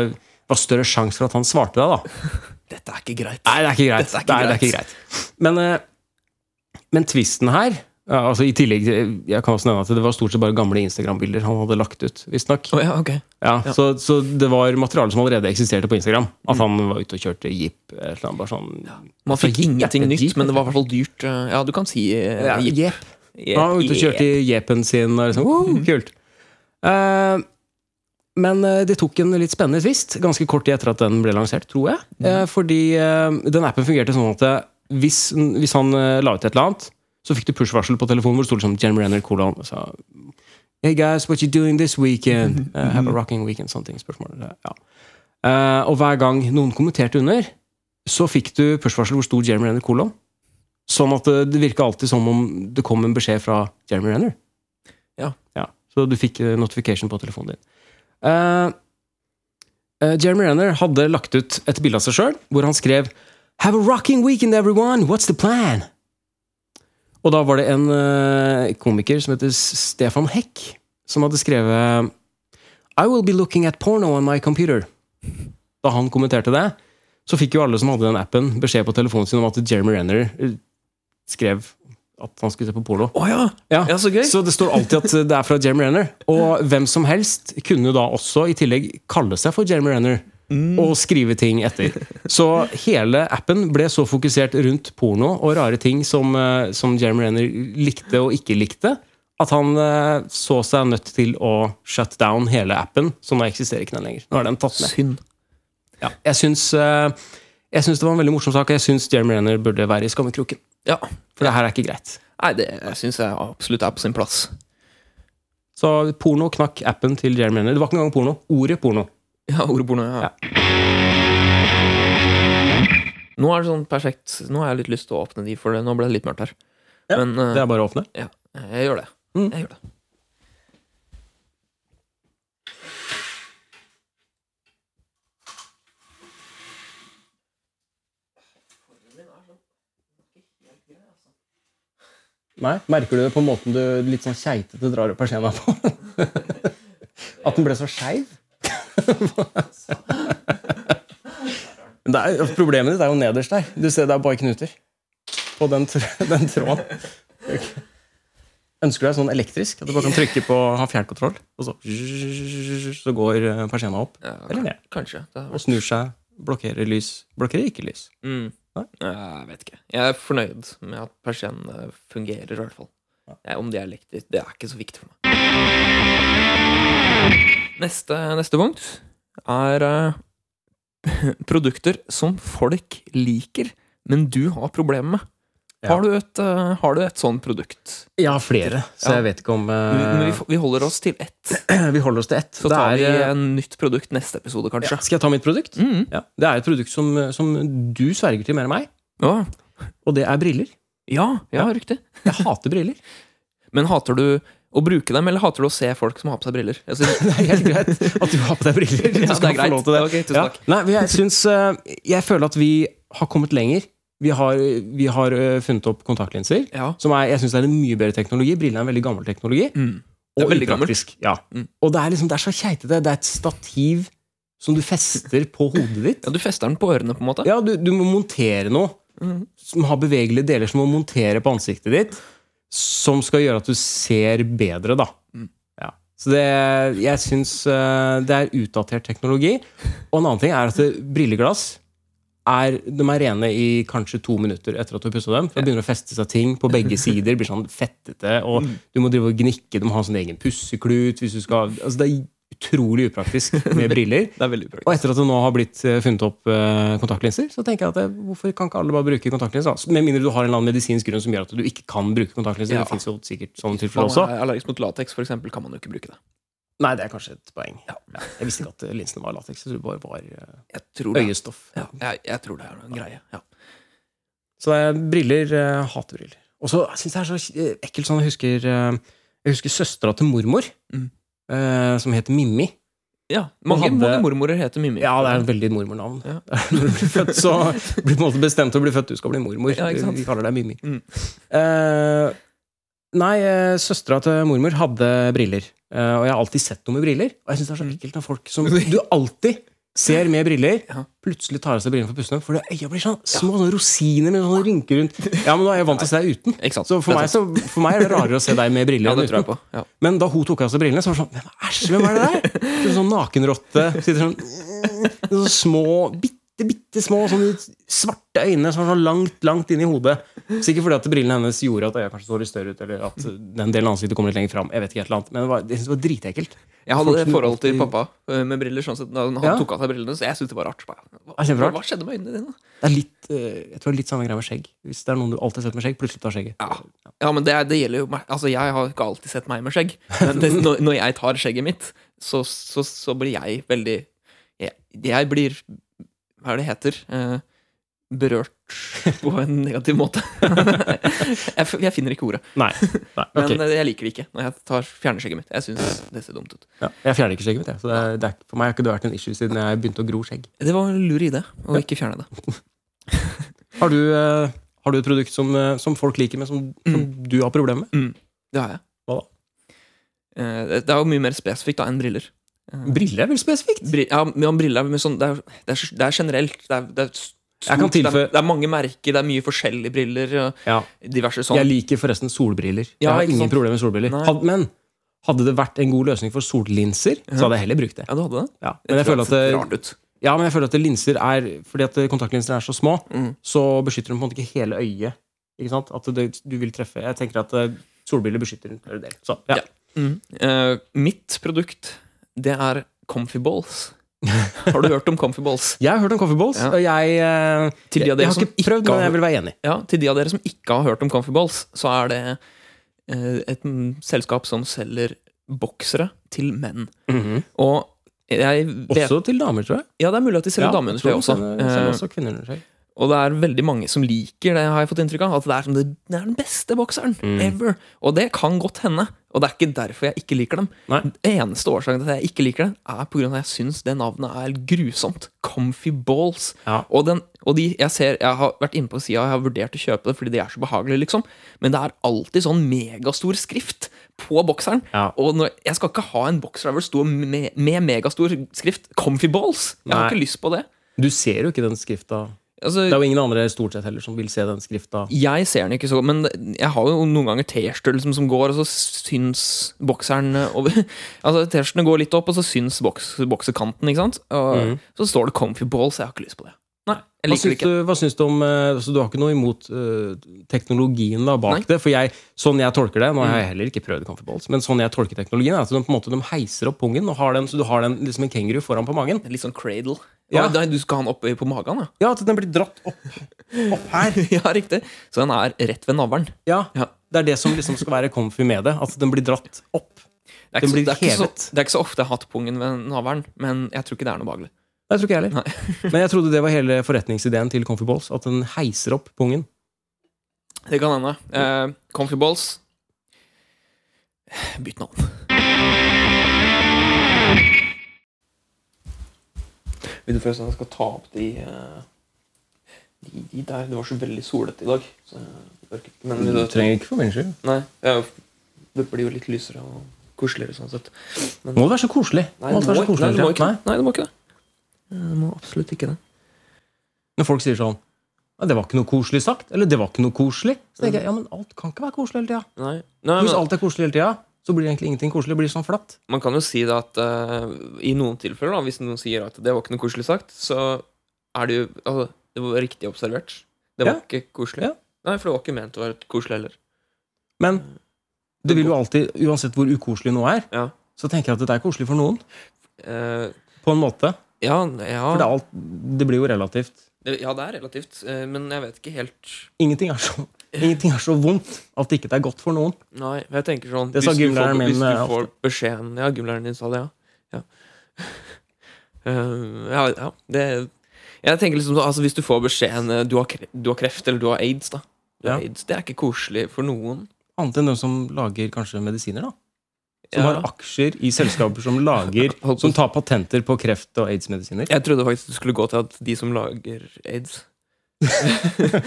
Speaker 2: var større sjanse for at han svarte deg. da
Speaker 3: Dette er ikke greit.
Speaker 2: Nei, det er ikke greit.
Speaker 3: Dette er ikke
Speaker 2: Nei, det er ikke greit. Men, eh, men tvisten her ja, altså I tillegg jeg kan også nevne at det var stort sett bare gamle Instagram-bilder han hadde lagt ut. visstnok.
Speaker 3: Å ja, ok.
Speaker 2: Ja,
Speaker 3: Ja.
Speaker 2: Så, så det var materiale som allerede eksisterte på Instagram. At han var ute og kjørte jeep. et Eller annet, bare sånn,
Speaker 3: Man fikk
Speaker 2: Altså, jeep
Speaker 3: ingenting
Speaker 2: er
Speaker 3: nytt,
Speaker 2: dyrt,
Speaker 3: men det var i hvert fall dyrt. eh, Ja, du kan si eh,
Speaker 2: Ja,
Speaker 3: jeep.
Speaker 2: jeep. Han var ute og kjørte i jeepen sin. Og liksom, wow, kult. Eh, men eh, det tok en litt spennende tvist ganske kort tid etter at den ble lansert, tror jeg. Eh, fordi eh, den appen fungerte sånn at eh, hvis, hvis han eh, la ut et eller annet, så fikk du push-varsel på telefonen hvor det sto liksom Jen Renner kolon og sa Hey guys, what you doing this weekend? Eh, have a rocking weekend, sånne ting. Spørsmål. eh, Ja. Eh, og hver gang noen kommenterte under, så fikk du push-varsel hvor sto Jeremy Renner kolon. Sånn at det, det virka alltid som om det kom en beskjed fra Jeremy Renner.
Speaker 3: Ja.
Speaker 2: Så du fikk eh, notification på telefonen din. Eh, eh, Jeremy Renner hadde lagt ut et bilde av seg sjøl hvor han skrev Have a rocking weekend, everyone! What's the plan? Og da var det en eh, komiker som heter S- Stefan Heck, som hadde skrevet I will be looking at porno on my computer. Da han kommenterte det, så fikk jo alle som hadde den appen, beskjed på telefonen sin om at Jeremy Renner eh, skrev at han skulle se på porno.
Speaker 3: Å ja.
Speaker 2: Ja.
Speaker 3: ja, så gøy!
Speaker 2: Så det står alltid at det er fra Jeremy Renner. Og hvem som helst kunne jo da også i tillegg kalle seg for Jeremy Renner. Og skrive ting etter. Så hele appen ble så fokusert rundt porno og rare ting som, eh, som Jeremy Renner likte og ikke likte, at han eh, så seg nødt til å shut down hele appen. Så nå eksisterer ikke den lenger. Nå er den tatt ned.
Speaker 3: Synd.
Speaker 2: Ja. Jeg syns eh, jeg syns det var en veldig morsom sak, og jeg syns Jeremy Renner burde være i skammekroken.
Speaker 3: Ja.
Speaker 2: For det her er ikke greit.
Speaker 3: Nei, det syns jeg absolutt er på sin plass.
Speaker 2: Så porno knakk appen til Jeremy Renner. Det var ikke engang porno. Ordet porno.
Speaker 3: Ja, ordporno.
Speaker 2: Ja.
Speaker 3: Ja. Nå er det sånn perfekt Nå har jeg litt lyst til å åpne de, for det. nå ble det litt mørkt her.
Speaker 2: Ja,
Speaker 3: Men eh,
Speaker 2: Det er bare å åpne.
Speaker 3: ja, jeg gjør det.
Speaker 2: Mm.
Speaker 3: Jeg gjør det.
Speaker 2: Nei, Merker du det på måten du litt sånn keitete drar opp persienna på? At den ble så skeiv? Det er- Problemet ditt er jo nederst der. Du ser Det er bare knuter på den, tr- den tråden. Ønsker du deg sånn elektrisk? At du bare kan trykke på ha fjernkontroll, og så, så går eh, persienna opp
Speaker 3: Ja,
Speaker 2: eller ned.
Speaker 3: Kanskje. Det
Speaker 2: Og
Speaker 3: er,
Speaker 2: snur seg, blokkerer lys, blokkerer ikke lys.
Speaker 3: mm.
Speaker 2: Nei?
Speaker 3: Jeg vet ikke. Jeg er fornøyd med at persiennene fungerer, i hvert fall. Jeg, om de er elektriske, det er ikke så viktig for meg. Neste, neste punkt er eh, produkter som folk liker, men du har problemer med.
Speaker 2: Ja.
Speaker 3: Har, du et, eh, har du et sånt produkt?
Speaker 2: Jeg har flere, så
Speaker 3: Ja.
Speaker 2: jeg vet ikke om
Speaker 3: Men
Speaker 2: eh,
Speaker 3: vi, vi holder oss til ett.
Speaker 2: Vi holder oss til ett.
Speaker 3: Så
Speaker 2: Det
Speaker 3: tar vi
Speaker 2: er, eh,
Speaker 3: et nytt produkt neste episode, kanskje.
Speaker 2: Ja. Skal jeg ta mitt produkt?
Speaker 3: Mm.
Speaker 2: Ja. Det er et produkt som, eh, som du sverger til mer enn meg,
Speaker 3: Ja.
Speaker 2: og det er briller.
Speaker 3: Ja, ja, riktig.
Speaker 2: Jeg hater briller.
Speaker 3: Men hater du å bruke dem, eller hater du å se folk som har på seg briller? Jeg synes,
Speaker 2: Det er helt greit at du har på deg briller. Du
Speaker 3: ja, det
Speaker 2: skal
Speaker 3: er
Speaker 2: få
Speaker 3: greit.
Speaker 2: lov til det.
Speaker 3: Ok, tusen
Speaker 2: Ja.
Speaker 3: takk.
Speaker 2: Nei, men jeg, syns, eh, jeg føler at vi har kommet lenger. Vi har, vi har eh, funnet opp kontaktlinser,
Speaker 3: Ja.
Speaker 2: som er, jeg syns er en mye bedre teknologi. Brillene er en veldig gammel teknologi.
Speaker 3: Mm. Det er veldig gammelt.
Speaker 2: upraktisk. Ja.
Speaker 3: Mm.
Speaker 2: Og det er, liksom, det er så keitete. Det er et stativ som du fester på hodet ditt.
Speaker 3: ja, du fester den på ørene, på en måte?
Speaker 2: Ja, du, du må montere noe
Speaker 3: Mhm.
Speaker 2: som har bevegelige deler som må montere på ansiktet ditt, som skal gjøre at du ser bedre, da.
Speaker 3: Mm.
Speaker 2: Ja. Så det, jeg syns eh, det er utdatert teknologi. Og en annen ting er at det, brilleglass er, de er rene i kanskje to minutter etter at du har pussa dem. For det begynner å feste seg ting på begge sider. blir sånn fettete, og
Speaker 3: Mm.
Speaker 2: Du må drive og gnikke. De har sånn egen pusseklut. Hvis du skal, altså det er utrolig upraktisk med briller.
Speaker 3: Det er veldig praktisk.
Speaker 2: Og etter at det nå har blitt eh, funnet opp eh, kontaktlinser, så tenker jeg at eh, hvorfor kan ikke alle bare bruke kontaktlinser? Altså, Med mindre du har en eller annen medisinsk grunn som gjør at du ikke kan bruke kontaktlinser.
Speaker 3: Ja.
Speaker 2: Det finnes jo sikkert sånne tilfeller
Speaker 3: Hvis
Speaker 2: også.
Speaker 3: man er allergisk mot lateks, f.eks., kan man jo ikke bruke det.
Speaker 2: Nei, det er kanskje et poeng. Jeg visste ikke at eh, linsene var lateks. Jeg trodde det bare var eh,
Speaker 3: Jeg tror det,
Speaker 2: øyestoff.
Speaker 3: ja, jeg, jeg tror det er en greie. Ja.
Speaker 2: Så det er briller eh, hater briller. Og så syns jeg det er så eh, ekkelt sånn Jeg husker, eh, jeg husker søstera til mormor,
Speaker 3: Mm.
Speaker 2: eh, som het Mimmi.
Speaker 3: Ja, mange,
Speaker 2: hadde-
Speaker 3: mange mormorer heter Mimmi.
Speaker 2: Ja, det er veldig et mormornavn.
Speaker 3: Ja.
Speaker 2: Når du blir født, så blir du på en måte bestemt til å bli født. Du skal bli mormor.
Speaker 3: Ja, ikke sant?
Speaker 2: Vi kaller deg Mimmi.
Speaker 3: Mm.
Speaker 2: Eh, nei, eh, søstera til mormor hadde briller. Eh, og jeg har alltid sett noe med briller. Og jeg syns det er så
Speaker 3: Mm.
Speaker 2: ekkelt når folk som du alltid ser med briller,
Speaker 3: Ja.
Speaker 2: plutselig tar av seg brillene for å puste dem. For øya blir sånn små sånne rosiner med sånne rynker rundt. Ja, men nå er jeg vant til å se deg uten.
Speaker 3: Ikke sant?
Speaker 2: Så for meg, så, for meg er det rarere å se deg med briller
Speaker 3: ja, det
Speaker 2: enn
Speaker 3: tror jeg
Speaker 2: uten.
Speaker 3: på. Ja.
Speaker 2: Men da hun tok av seg brillene, så var det sånn Hvem, æsj, hvem er det der? Sånn, sånn nakenrotte. Sitter sånn sånn små, bitte, bitte små sånne svarte øyne som var sånn langt, langt inn i hodet. Sikkert fordi at brillene hennes gjorde at øya kanskje så litt større ut, eller at den delen av ansiktet kom litt lenger fram. Jeg vet ikke, et eller annet. Men det var, jeg synes det var dritekkelt.
Speaker 3: Jeg hadde
Speaker 2: Folk
Speaker 3: et
Speaker 2: som
Speaker 3: forhold til
Speaker 2: alltid-
Speaker 3: pappa eh, med briller. sånn sett, når Han
Speaker 2: Ja.
Speaker 3: tok av seg brillene, så jeg syntes det var rart. Bare, Hva,
Speaker 2: Ja, kjemperart.
Speaker 3: hva skjedde med øynene dine?
Speaker 2: Det er litt, eh, jeg tror det er litt samme greia med skjegg. Hvis det er noen du alltid har sett med skjegg, plutselig tar skjegget.
Speaker 3: Ja. Ja, men det, er- det gjelder jo meg. Altså, Jeg har ikke alltid sett meg med skjegg. Men det, når, når jeg tar skjegget mitt, så, så, så blir jeg veldig jeg, jeg blir Hva er det det heter? Eh, berørt på en negativ måte. jeg, f- jeg finner ikke ordet.
Speaker 2: Nei. Nei.
Speaker 3: Men
Speaker 2: ok.
Speaker 3: eh, jeg liker det ikke når jeg tar fjerner skjegget mitt. Jeg synes det ser dumt ut.
Speaker 2: Ja, jeg fjerner ikke skjegget mitt, jeg. Så det er, det er, for meg har ikke det vært en issue siden jeg begynte å gro skjegg.
Speaker 3: Det var en lur idé å ikke fjerne det.
Speaker 2: Har du, eh, har du et produkt som, eh, som folk liker, men som, som
Speaker 3: Mm.
Speaker 2: du har problemer med?
Speaker 3: Det har jeg.
Speaker 2: Hva da?
Speaker 3: Eh, det- Det er jo mye mer spesifikt da enn briller. Eh,
Speaker 2: Briller er vel spesifikt?
Speaker 3: Bri- Ja, men briller er mye sånn, det, er, det, er, det er generelt. Det er, det, er stort,
Speaker 2: Jeg kan
Speaker 3: det, er,
Speaker 2: tilføye-
Speaker 3: det er mange merker, det er mye forskjellige briller. Og
Speaker 2: Ja.
Speaker 3: diverse sånn.
Speaker 2: Jeg liker forresten solbriller.
Speaker 3: Ja,
Speaker 2: jeg har
Speaker 3: ikke
Speaker 2: ingen
Speaker 3: sant?
Speaker 2: problemer med solbriller.
Speaker 3: Nei.
Speaker 2: Had, men hadde det vært en god løsning for sollinser, så hadde jeg heller brukt det.
Speaker 3: Ja, du hadde det?
Speaker 2: Ja. Men, jeg
Speaker 3: tror
Speaker 2: føler
Speaker 3: det
Speaker 2: at det,
Speaker 3: ser rart ut.
Speaker 2: ja, men jeg føler at linser er Fordi at kontaktlinser er så små,
Speaker 3: Mm.
Speaker 2: så beskytter de på en måte ikke hele øyet. Ikke sant? At det, du vil treffe Jeg tenker at eh, solbriller beskytter en større del. Så, ja.
Speaker 3: Ja. Mm. Eh, mitt produkt, det er comfy balls. Har du hørt om comfy balls?
Speaker 2: Jeg har hørt om coffeeballs,
Speaker 3: Ja.
Speaker 2: og jeg, eh,
Speaker 3: Til de
Speaker 2: jeg,
Speaker 3: av dere
Speaker 2: har
Speaker 3: som
Speaker 2: ikke prøvd,
Speaker 3: ikke
Speaker 2: men
Speaker 3: har
Speaker 2: jeg vil være enig.
Speaker 3: Ja, til de av dere som ikke har hørt om Comfy Balls, så er det eh, et mm, selskap som selger boksere til menn. Og jeg vet
Speaker 2: Også til damer, tror jeg.
Speaker 3: Ja, det er mulig at de selger
Speaker 2: Ja, jeg
Speaker 3: dameundertøy
Speaker 2: tror de
Speaker 3: også.
Speaker 2: selger-
Speaker 3: Eh,
Speaker 2: selger også kvinneundertøy.
Speaker 3: og det er veldig mange som liker det, har jeg fått inntrykk av. At det er, som det, det er den beste bokseren
Speaker 2: Mm.
Speaker 3: ever. Og det kan godt hende. Og det er ikke derfor jeg ikke liker dem.
Speaker 2: Nei.
Speaker 3: Den eneste årsaken til at jeg ikke liker det, er på grunn av at jeg syns det navnet er grusomt. Comfy Balls.
Speaker 2: Ja.
Speaker 3: Og, den, og de jeg ser Jeg har vært inne på sida, jeg har vurdert å kjøpe det fordi de er så behagelige, liksom. Men det er alltid sånn megastor skrift på bokseren.
Speaker 2: Ja.
Speaker 3: Og når, jeg skal ikke ha en bokser der hvor det står med, med megastor skrift 'Comfy Balls'. Jeg har
Speaker 2: Nei.
Speaker 3: ikke lyst på det.
Speaker 2: Du ser jo ikke den skrifta.
Speaker 3: Altså,
Speaker 2: Det er jo ingen andre stort sett heller som vil se den skrifta.
Speaker 3: jeg ser den ikke så godt, men jeg har jo noen ganger T-skjorter liksom, som går, og så syns bokseren over Altså, T-skjortene går litt opp, og så syns boks, boksekanten, ikke sant? Og så står det 'Comfy Balls', jeg har ikke lyst på det. Nei, jeg
Speaker 2: Mhm. Hva
Speaker 3: liker
Speaker 2: syns,
Speaker 3: det ikke.
Speaker 2: du, hva syns du om eh, altså, Du har ikke noe imot eh, teknologien da bak
Speaker 3: Nei. Mm.
Speaker 2: det? For jeg, sånn jeg tolker det Nå har jeg heller ikke prøvd Comfy Balls, men sånn jeg tolker teknologien, er at de, på en måte, de heiser opp pungen, og har den, så du har den liksom en kenguru foran på magen.
Speaker 3: Litt sånn cradle.
Speaker 2: Ja.
Speaker 3: Ja. du skal ha den oppe på magen, ja?
Speaker 2: Ja, at den blir dratt opp, opp her.
Speaker 3: ja, riktig. Så den er rett ved navlen.
Speaker 2: Ja,
Speaker 3: Ja.
Speaker 2: Det er det som liksom skal være comfy med det. At den blir dratt opp.
Speaker 3: Det er, ikke,
Speaker 2: Den
Speaker 3: så-
Speaker 2: blir
Speaker 3: det, er ikke så,
Speaker 2: hevet.
Speaker 3: det er ikke så ofte jeg har hatt pungen ved navlen, men jeg tror ikke det er noe behagelig.
Speaker 2: Nei, Jeg tror ikke jeg heller. Men jeg trodde det var hele forretningsideen til Comfy Balls. At den heiser opp pungen.
Speaker 3: Det kan hende. Eh, comfy balls. Bytt navn. Vil du forresten at jeg skal ta opp de eh, de, de der? Det var så veldig solete i dag. Så jeg orker ikke. Men det,
Speaker 2: trenger ikke for min skyld.
Speaker 3: nei, jeg- det blir jo litt lysere og koseligere sånn sett.
Speaker 2: Må det være så koselig?
Speaker 3: Nei,
Speaker 2: må
Speaker 3: det
Speaker 2: det være så
Speaker 3: må, nei,
Speaker 2: koselig
Speaker 3: det må
Speaker 2: hele
Speaker 3: ikke
Speaker 2: tiden? Nei.
Speaker 3: det. Nei, det må ikke det. Eh, Det må absolutt ikke det.
Speaker 2: Når folk sier sånn «Ja, det var ikke noe koselig sagt, eller det var ikke noe koselig. Så tenker jeg, ja, men alt kan ikke være koselig hele tida.
Speaker 3: Nei,
Speaker 2: Hvis
Speaker 3: men,
Speaker 2: alt er koselig hele tida, så blir egentlig ingenting koselig. Det blir sånn flatt.
Speaker 3: Man kan jo si det at eh, i noen tilfeller, da, hvis noen sier at det var ikke noe koselig sagt, så er det jo altså, Det var riktig observert. Det var
Speaker 2: Ja.
Speaker 3: ikke koselig.
Speaker 2: Ja.
Speaker 3: Nei, for det var ikke ment å være koselig heller.
Speaker 2: Men det vil jo alltid, uansett hvor ukoselig noe er,
Speaker 3: Ja.
Speaker 2: så tenker jeg at dette er koselig for noen.
Speaker 3: Eh,
Speaker 2: På en måte.
Speaker 3: ja, ja.
Speaker 2: For det, er alt, det blir jo relativt.
Speaker 3: Det, ja, det er relativt, eh, men jeg vet ikke helt
Speaker 2: Ingenting er, så, ingenting er så vondt at det ikke er godt for noen.
Speaker 3: Nei, men jeg tenker sånn
Speaker 2: Det sa
Speaker 3: hvis du
Speaker 2: gymlæreren
Speaker 3: får-
Speaker 2: min,
Speaker 3: Hvis
Speaker 2: eh,
Speaker 3: du får beskjeden Ja, gymlæreren din sa det, ja. Ja, Eh, ja, ja det Jeg tenker liksom sånn, altså, Hvis du får beskjeden eh, du har, kre- du har kreft eller du har aids, da du har
Speaker 2: Ja.
Speaker 3: AIDS, Det er ikke koselig for noen.
Speaker 2: Annet enn de som lager kanskje medisiner, da. Som
Speaker 3: Ja.
Speaker 2: har aksjer i selskaper som lager
Speaker 3: Holdt på
Speaker 2: Som
Speaker 3: å-
Speaker 2: tar patenter på kreft- og aids-medisiner.
Speaker 3: Jeg trodde faktisk det skulle gå til at de som lager aids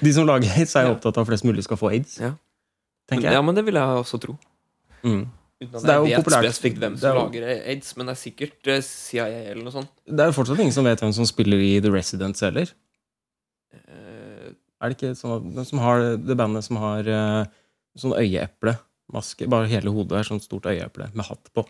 Speaker 2: De som lager aids, er jo
Speaker 3: Ja.
Speaker 2: opptatt av at flest mulig skal få aids.
Speaker 3: Ja. men, Ja,
Speaker 2: Tenker jeg.
Speaker 3: men det vil jeg også tro.
Speaker 2: Mm.
Speaker 3: Uten
Speaker 2: Så det er
Speaker 3: at
Speaker 2: jo
Speaker 3: jeg vet
Speaker 2: populært.
Speaker 3: spesifikt hvem
Speaker 2: Det er
Speaker 3: som
Speaker 2: jo-
Speaker 3: lager aids, men det er sikkert eh, CIA eller noe sånt.
Speaker 2: Det er jo fortsatt ingen som vet hvem som spiller i The Residents heller.
Speaker 3: Eh,
Speaker 2: Er det ikke sånn at de som har det bandet som har eh, sånn øyeeplemaske Bare hele hodet er sånn stort øyeeple med hatt på.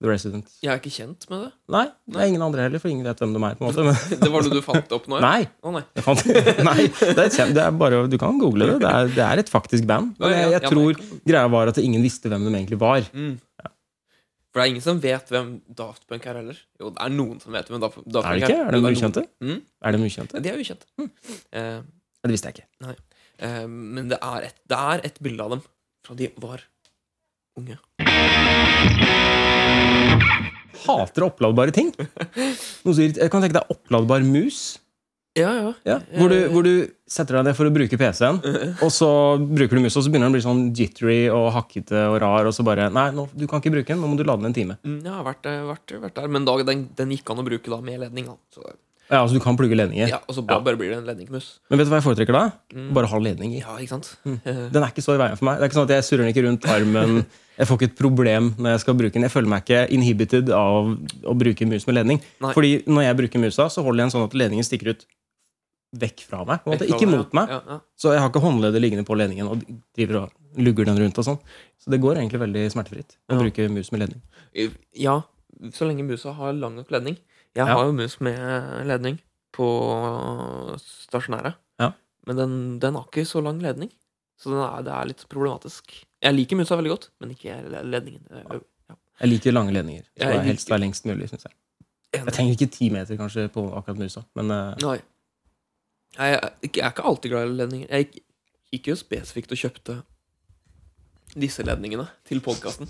Speaker 2: The Residents.
Speaker 3: Jeg er ikke kjent med det.
Speaker 2: Nei, det er ingen andre heller, for ingen vet hvem de er. på en måte men,
Speaker 3: Det var noe du fant opp nå? ja?
Speaker 2: Nei!
Speaker 3: Å nei.
Speaker 2: Jeg fant, nei det er, et kjem- det er bare, å- du kan google det. Det er, det er et faktisk band. Men jeg, jeg
Speaker 3: Ja, men-
Speaker 2: tror greia var at ingen visste hvem de egentlig var.
Speaker 3: Mm. For det er ingen som vet hvem Daft Punk er heller. Jo, det er noen som vet hvem Daft, Daft
Speaker 2: Er
Speaker 3: Punk
Speaker 2: det ikke?
Speaker 3: Jo,
Speaker 2: Er de
Speaker 3: noen.
Speaker 2: ukjente?
Speaker 3: Mm.
Speaker 2: Er de ukjente?
Speaker 3: Ja, De er ukjent. Eh,
Speaker 2: Ja, Det visste jeg ikke.
Speaker 3: eh, men det er, et, det er et bilde av dem fra de var unge.
Speaker 2: Hater oppladbare ting. Noen sier, jeg kan tenke deg oppladbar mus.
Speaker 3: Ja, ja.
Speaker 2: Ja, hvor, du, hvor du setter deg ned for å bruke PC-en, og så bruker du musa, og så begynner den å bli sånn jittery og hakkete og rar, og så bare Nei, nå, du kan ikke bruke den, nå må du lade den en time.
Speaker 3: Mm, Jeg har vært, eh, vært, vært der, men da, den, den gikk an å bruke da med ledning. Da. Så,
Speaker 2: Ja, altså du kan plugge ledninger.
Speaker 3: ja, og så bare,
Speaker 2: Ja.
Speaker 3: bare blir det en ledningmus.
Speaker 2: Men vet du hva jeg foretrekker da?
Speaker 3: Mm.
Speaker 2: Bare Mm. ha ledning i.
Speaker 3: Ja, ikke sant?
Speaker 2: Den er ikke så i veien for meg. Det er ikke sånn at Jeg surrer den ikke rundt armen. Jeg får ikke et problem når jeg skal bruke den. Jeg føler meg ikke inhibited av å bruke mus med ledning.
Speaker 3: Nei.
Speaker 2: Fordi når jeg bruker musa, så holder jeg den sånn at ledningen stikker ut vekk fra meg. På en måte.
Speaker 3: Vekk fra det,
Speaker 2: Ikke mot meg.
Speaker 3: Ja, ja.
Speaker 2: Så jeg har ikke håndleddet liggende på ledningen og driver og lugger den rundt. og sånn. Så det går egentlig veldig smertefritt å
Speaker 3: Ja.
Speaker 2: bruke mus med ledning.
Speaker 3: Eh, Ja, så lenge musa har lang nok ledning. Jeg
Speaker 2: Ja.
Speaker 3: har jo mus med eh, ledning på stasjonære.
Speaker 2: Ja.
Speaker 3: Men den, den har ikke så lang ledning, så den er, det er litt problematisk. Jeg liker musa veldig godt, men ikke le- ledningen. Det er jo-
Speaker 2: Jeg liker lange ledninger. Så
Speaker 3: Jeg
Speaker 2: jeg helst
Speaker 3: liker-
Speaker 2: være lengst mulig, synes jeg. Jeg
Speaker 3: Enig.
Speaker 2: trenger ikke ti meter kanskje på akkurat musa, men eh,
Speaker 3: Nei. Nei, Jeg, er ikke- jeg er ikke alltid glad i ledninger. Jeg gikk- gikk jo spesifikt og kjøpte disse ledningene til podkasten.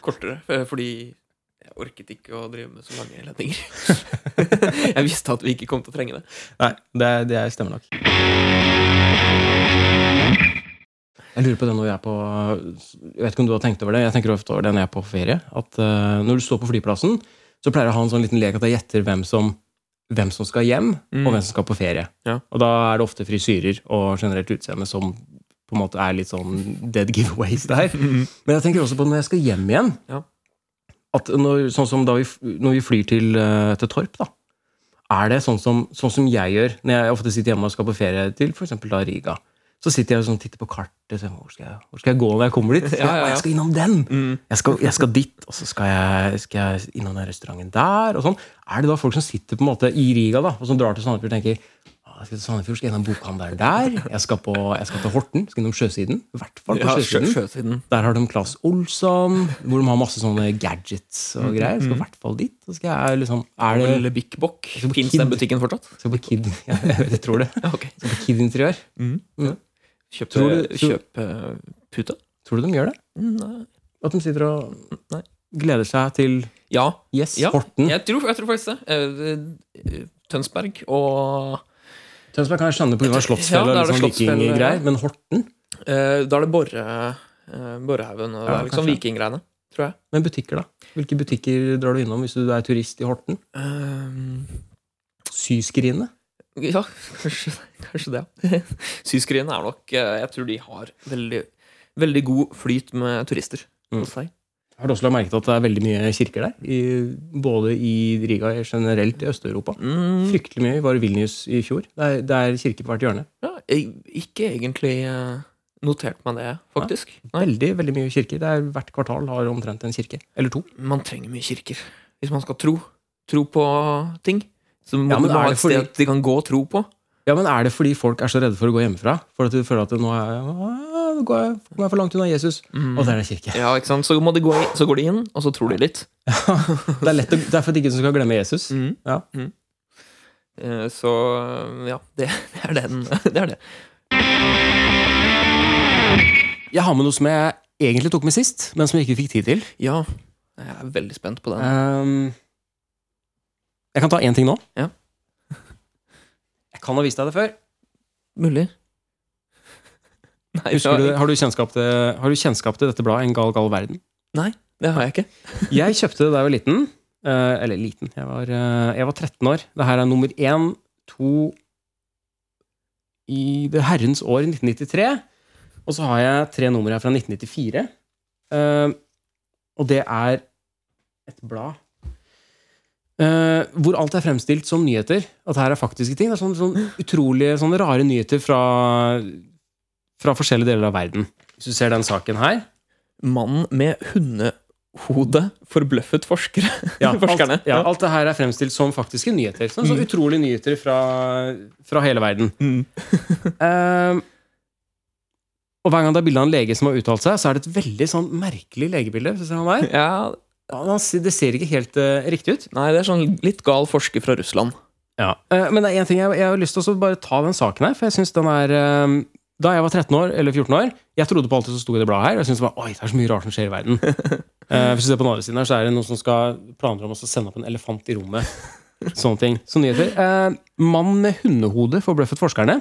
Speaker 3: Kortere, f- fordi jeg orket ikke å drive med så lange ledninger. jeg visste at vi ikke kom til å trenge det.
Speaker 2: Nei, det, det er stemmer nok. Jeg lurer på det når jeg er på Jeg vet ikke om du har tenkt over det. Jeg tenker ofte over det når jeg er på ferie. At eh, når du står på flyplassen, så pleier jeg å ha en sånn liten lek at jeg gjetter hvem som, hvem som skal hjem,
Speaker 3: Mm.
Speaker 2: og hvem som skal på ferie.
Speaker 3: Ja.
Speaker 2: Og da er det ofte frisyrer og generelt utseende som på en måte er litt sånn dead giveaways der. Men jeg tenker også på når jeg skal hjem igjen.
Speaker 3: Ja.
Speaker 2: At når, sånn som da vi, f- når vi flyr til, eh, til Torp, da. Er det sånn som, sånn som jeg gjør når jeg ofte sitter hjemme og skal på ferie til for eksempel da Riga? Så sitter jeg og sånn, titter på kartet. Så, jeg, hvor, skal jeg, hvor skal jeg gå når jeg kommer dit?
Speaker 3: Ja, ja, ja.
Speaker 2: «Å, Jeg skal innom den!
Speaker 3: Mm.
Speaker 2: Jeg skal, jeg skal dit, og så skal jeg, skal jeg innom den restauranten der. og sånn. Er det da folk som sitter på en måte i Riga da, og som drar til Sandefjord og tenker «Å, jeg skal til Sandefjord, skal innom bokhandelen der, jeg skal, på, jeg skal til Horten, skal innom Sjøsiden. I hvert fall på
Speaker 3: Ja,
Speaker 2: Sjøsiden.
Speaker 3: sjø- sjøsiden.
Speaker 2: Der har de Claes Olsson, hvor de har masse sånne gadgets og greier. Jeg skal i hvert fall dit. Så skal jeg liksom
Speaker 3: Og
Speaker 2: er Mm, det,
Speaker 3: Lille Bik Bok.
Speaker 2: Så på
Speaker 3: Fins
Speaker 2: Kid.
Speaker 3: den butikken fortsatt?
Speaker 2: skal på Kid ja, Jeg tror det.
Speaker 3: Ja, ok.
Speaker 2: Skal på Kid Interiør.
Speaker 3: Kjøp,
Speaker 2: Tror du- tror-
Speaker 3: kjøp eh, pute?
Speaker 2: Tror du de gjør det?
Speaker 3: Mm, Nei.
Speaker 2: At de sitter og
Speaker 3: Nei.
Speaker 2: gleder seg til
Speaker 3: Ja,
Speaker 2: Yes,
Speaker 3: Ja,
Speaker 2: Horten.
Speaker 3: jeg tror, jeg tror faktisk det. Eh, eh, Tønsberg og
Speaker 2: Tønsberg kan jeg skjønne pga.
Speaker 3: Ja,
Speaker 2: Slottsfjell
Speaker 3: der
Speaker 2: og
Speaker 3: er det
Speaker 2: litt sånn
Speaker 3: Slottsfjell,
Speaker 2: vikinggreier,
Speaker 3: ja.
Speaker 2: men Horten?
Speaker 3: eh, Da er det Borre, eh, Borrehaugen og det
Speaker 2: Ja,
Speaker 3: er liksom
Speaker 2: kanskje.
Speaker 3: vikinggreiene, tror jeg.
Speaker 2: Men butikker, da? Hvilke butikker drar du innom hvis du er turist i Horten?
Speaker 3: Eh,
Speaker 2: Syskrinet?
Speaker 3: ja, kanskje, kanskje det. ja. Syskrinet er nok eh, Jeg tror de har veldig, veldig god flyt med turister
Speaker 2: Mm.
Speaker 3: hos seg.
Speaker 2: Har du også lagt merke til at det er veldig mye kirker der? I, både i Riga og generelt i Øst-Europa.
Speaker 3: Mm,
Speaker 2: Fryktelig mye. Vi var i Vilnius i fjor. Det er, det er kirke på hvert hjørne.
Speaker 3: ja, jeg, ikke egentlig eh, notert meg det, faktisk. Nei.
Speaker 2: Veldig veldig mye kirker. Det er Hvert kvartal har omtrent en kirke. Eller to.
Speaker 3: man trenger mye kirker hvis man skal tro. Tro på ting.
Speaker 4: Så må
Speaker 2: Ja, men
Speaker 4: de ha
Speaker 2: er det
Speaker 4: et sted
Speaker 2: fordi-
Speaker 4: de kan gå og tro på.
Speaker 2: Ja, men Er det fordi folk er så redde for å gå hjemmefra? For at du føler at nå er «Ah, nå går jeg, nå er jeg for langt unna Jesus? Og det er det kirke.
Speaker 4: Ja, ikke sant? Så, må de gå i, så går de inn, og så tror de litt.
Speaker 2: Det er, lett å, det er for at ikke du skal glemme Jesus.
Speaker 4: Mhm.
Speaker 2: Ja.
Speaker 4: Eh, Så ja, det, det er den. Det er det.
Speaker 2: Jeg har med noe som jeg egentlig tok med sist, men som jeg ikke fikk tid til.
Speaker 4: Ja, jeg er veldig spent på den.
Speaker 2: Ehm, jeg kan ta én ting nå.
Speaker 4: Ja.
Speaker 2: Jeg kan ha vist deg det før.
Speaker 4: Mulig. Nei,
Speaker 2: Husker du,
Speaker 4: det, har,
Speaker 2: har, du kjennskap til, har du kjennskap til dette bladet, En gal, gal verden?
Speaker 4: det har jeg ikke.
Speaker 2: Jeg kjøpte det da jeg var liten. Eh, eller liten. Jeg var, eh, jeg var 13 år. Det her er nummer én, to I det herrens år 1993. Og så har jeg tre numre her fra 1994. Eh, og det er et blad eh, hvor alt er fremstilt som nyheter. At her er faktiske ting. Det er sånne, sånne utrolige, sånne rare nyheter fra, fra forskjellige deler av verden. Hvis du ser den saken her
Speaker 4: Mannen med hundehode forbløffet forskere. forskerne.
Speaker 2: Alt, ja, alt det her er fremstilt som faktiske nyheter. Sånn, så utrolige nyheter fra, fra hele verden.
Speaker 4: Mm.
Speaker 2: Ehm, og hver gang det er bilde av en lege som har uttalt seg, så er det et veldig sånn merkelig legebilde. Synes jeg han er.
Speaker 4: Ja,
Speaker 2: Han- han ser- Det ser ikke helt eh, riktig ut.
Speaker 4: nei, det er sånn litt gal forsker fra Russland.
Speaker 2: Eh, men det er én ting jeg, jeg har lyst til å så bare ta den saken her, for jeg synes den er ehm, Da jeg var 13 år, eller 14 år, jeg trodde på alt det som sto i det bladet her. Og jeg synes det var, Oi, det er så mye rart som skjer i verden. Eh, hvis du ser på den andre siden her, så er det noen som skal planer om å sende opp en elefant i rommet. Sånne ting. Så nyheter. Eh, mann med hundehode forbløffet forskerne.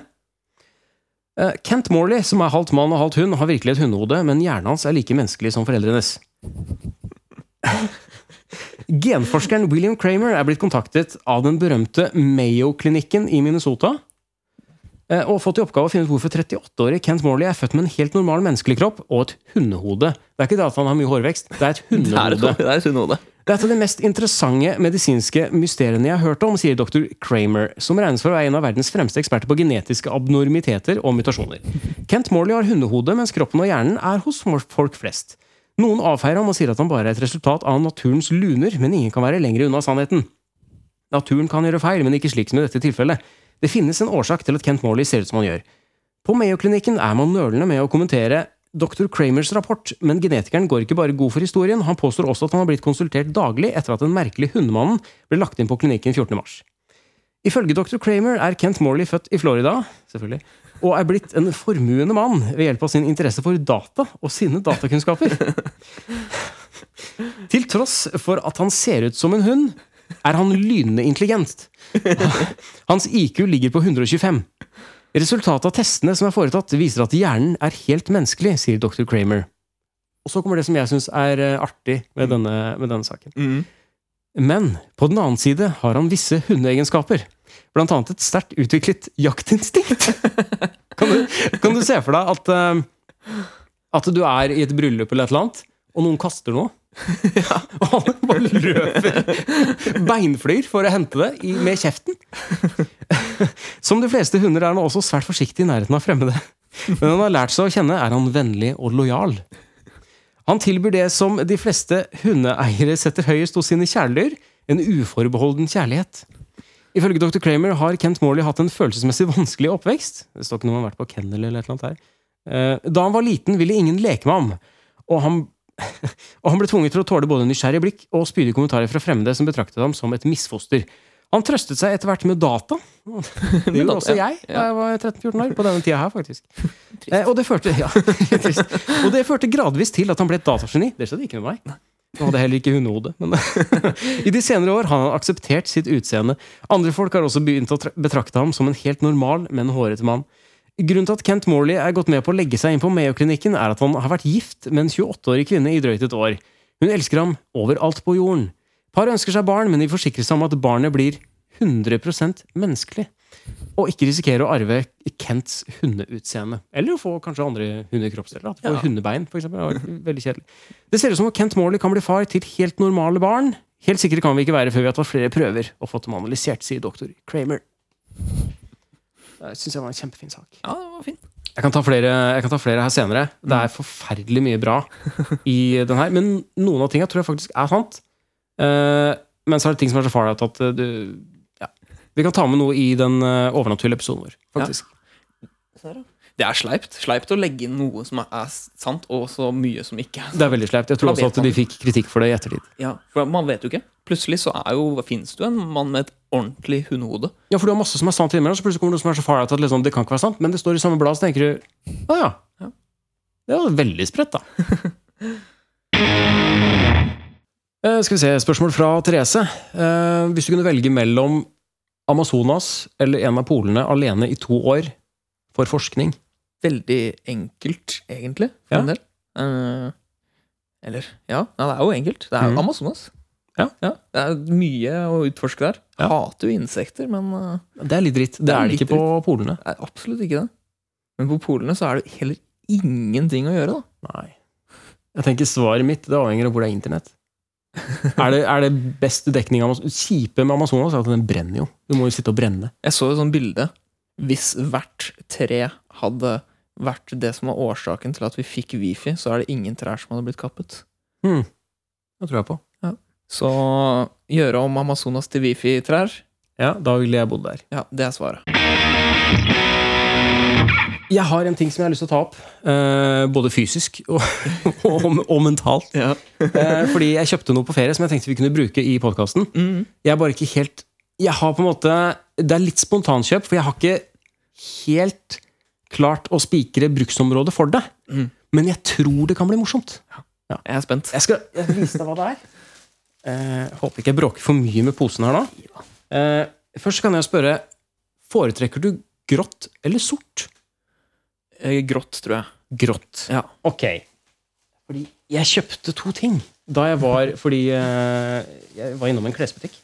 Speaker 2: Eh, Kent Morley, som er halvt mann og halvt hund, har virkelig et hundehode, men hjernen hans er like menneskelig som foreldrenes. Genforskeren William Kramer er blitt kontaktet av den berømte Mayo-klinikken i Minnesota. eh, Og fått i oppgave å finne ut hvorfor 38-årige Kent Morley er født med en helt normal menneskelig kropp og et hundehode. Det er ikke det at han har mye hårvekst, det er et
Speaker 4: Det er
Speaker 2: hundehode.
Speaker 4: et, det er et hundehode.
Speaker 2: Det er et av de mest interessante medisinske mysteriene jeg har hørt om, sier dr. Kramer, som regnes for å være en av verdens fremste eksperter på genetiske abnormiteter og mutasjoner. Kent Morley har hundehode, mens kroppen og hjernen er hos folk flest. Noen avfeier ham og sier at han bare er et resultat av naturens luner, men ingen kan være lenger unna sannheten. Naturen kan gjøre feil, men ikke slik som i dette tilfellet. Det finnes en årsak til at Kent Morley ser ut som han gjør. På Mayo-klinikken er man nølende med å kommentere Dr. Kramers rapport, men genetikeren går ikke bare god for historien, han påstår også at han har blitt konsultert daglig etter at den merkelige hundemannen ble lagt inn på klinikken 14. mars. Ifølge dr. Kramer er Kent Morley født i Florida, selvfølgelig, og er blitt en formuende mann ved hjelp av sin interesse for data og sine datakunnskaper. Til tross for at han ser ut som en hund, er han lynende intelligent. Hans IQ ligger på 125. Resultatet av testene som er foretatt, viser at hjernen er helt menneskelig, sier dr. Kramer. Og så kommer det som jeg syns er eh, artig med denne, med denne saken. Men på den annen side har han visse hundeegenskaper. Blant annet et sterkt utviklet jaktinstinkt. Kan du, kan du se for deg at, eh, at du er i et bryllup eller et eller annet, og noen kaster noe? Og han bare løper. Beinflyr for å hente det i, med kjeften. Som de fleste hunder er han også svært forsiktig i nærheten av fremmede. Men han har lært seg å kjenne, er han vennlig og lojal. Han tilbyr det som de fleste hundeeiere setter høyest hos sine kjæledyr, en uforbeholden kjærlighet. Ifølge dr. Kramer har Kent Morley hatt en følelsesmessig vanskelig oppvekst. Det står ikke noe om han har vært på kennel eller et eller annet her. Eh, Da han var liten, ville ingen leke med ham, og han, og han ble tvunget til å tåle både nysgjerrige blikk og spydige kommentarer fra fremmede som betraktet ham som et misfoster. Han trøstet seg etter hvert med data. Det gjorde
Speaker 4: data,
Speaker 2: også jeg da jeg var 13-14 år, på denne tida her, faktisk. Eh, og, det førte, ja, litt trist. og det førte gradvis til at han ble et datageni. Det skjedde ikke med meg. Han hadde heller ikke hundehode. Men I de senere år har han akseptert sitt utseende. Andre folk har også begynt å tra- betrakte ham som en helt normal, men hårete mann. Grunnen til at Kent Morley er gått med på å legge seg inn på Mayo-klinikken, er at han har vært gift med en 28-årig kvinne i drøyt et år. Hun elsker ham overalt på jorden. Paret ønsker seg barn, men de forsikrer seg om at barnet blir 100 menneskelig og ikke risikere å arve Kents hundeutseende. Eller å få kanskje andre hundekroppsdeler. At du får
Speaker 4: Ja.
Speaker 2: hundebein, for eksempel. Det var Veldig kjedelig. Det ser ut som om Kent Morley kan bli far til helt normale barn. Helt sikre kan vi ikke være før vi har tatt flere prøver og fått dem analysert, sier doktor Kramer. Det syns jeg var en kjempefin sak.
Speaker 4: Ja, det var fint.
Speaker 2: Jeg kan, ta flere, jeg kan ta flere her senere. Det er forferdelig mye bra i den her. Men noen av tinga tror jeg faktisk er sant. Eh, men så er det ting som er så far out at eh, du Ja. Vi kan ta med noe i den eh, overnaturlige episoden vår, faktisk.
Speaker 3: Det er sleipt. Sleipt å legge inn noe som er- er sant, og så mye som ikke er
Speaker 2: Det er veldig sleipt. Jeg tror
Speaker 3: Da vet
Speaker 2: også at de fikk kritikk for det i ettertid.
Speaker 3: Ja, for man vet jo ikke. Plutselig så er jo, finnes det jo en mann med et ordentlig hundehode.
Speaker 2: Ja, for du har masse som er sant innimellom, så plutselig kommer det noe som er så far out at liksom, det kan ikke være sant, men det står i samme blad, så tenker du Å ja.
Speaker 3: Ja.
Speaker 2: Det var veldig spredt, da. Eh, skal vi se, spørsmål fra Therese. Eh, hvis du kunne velge mellom Amazonas eller en av polene alene i to år for forskning
Speaker 3: Veldig enkelt, egentlig, for
Speaker 2: Ja.
Speaker 3: en del. Eh, eller Ja, nei, det er jo enkelt. Det er jo
Speaker 2: Mhm.
Speaker 3: Amazonas.
Speaker 2: Ja.
Speaker 3: Det er mye å utforske der.
Speaker 2: Ja.
Speaker 3: Hater jo insekter, men eh,
Speaker 2: Det er litt dritt. Det,
Speaker 3: Det er
Speaker 2: er det
Speaker 3: litt
Speaker 2: ikke på polene.
Speaker 3: det er absolutt ikke det. Men på polene så er det heller ingenting å gjøre, da.
Speaker 2: Nei. Jeg tenker svaret mitt det avhenger av hvor det er internett. er, det, er det best dekning av Amazonas? Kjipe med Amazonas er at den brenner jo. Du må jo sitte og brenne.
Speaker 3: Jeg så jo sånn bilde. Hvis hvert tre hadde vært det som var årsaken til at vi fikk wifi, så er det ingen trær som hadde blitt kappet.
Speaker 2: Det tror jeg på.
Speaker 3: Så gjøre om Amazonas til wifi-trær,
Speaker 2: Ja, da ville jeg bodd der.
Speaker 3: ja, det er svaret.
Speaker 2: Jeg har en ting som jeg har lyst til å ta opp. eh, både fysisk og, og, og mentalt.
Speaker 3: Ja.
Speaker 2: Eh, fordi jeg kjøpte noe på ferie som jeg tenkte vi kunne bruke i podkasten.
Speaker 3: Mm.
Speaker 2: Jeg er bare ikke helt Jeg har på en måte Det er litt spontankjøp, for jeg har ikke helt klart å spikre bruksområdet for det.
Speaker 3: Mm.
Speaker 2: Men jeg tror det kan bli morsomt.
Speaker 3: Jeg er spent.
Speaker 2: Jeg skal jeg skal vise deg hva det er. Eh, håper ikke jeg bråker for mye med posen her nå. Eh, først kan jeg spørre Foretrekker du grått eller sort?
Speaker 3: Eh, Grått, tror jeg.
Speaker 2: Grått.
Speaker 3: Ja.
Speaker 2: Ok. Fordi jeg kjøpte to ting da jeg var Fordi eh, jeg var innom en klesbutikk.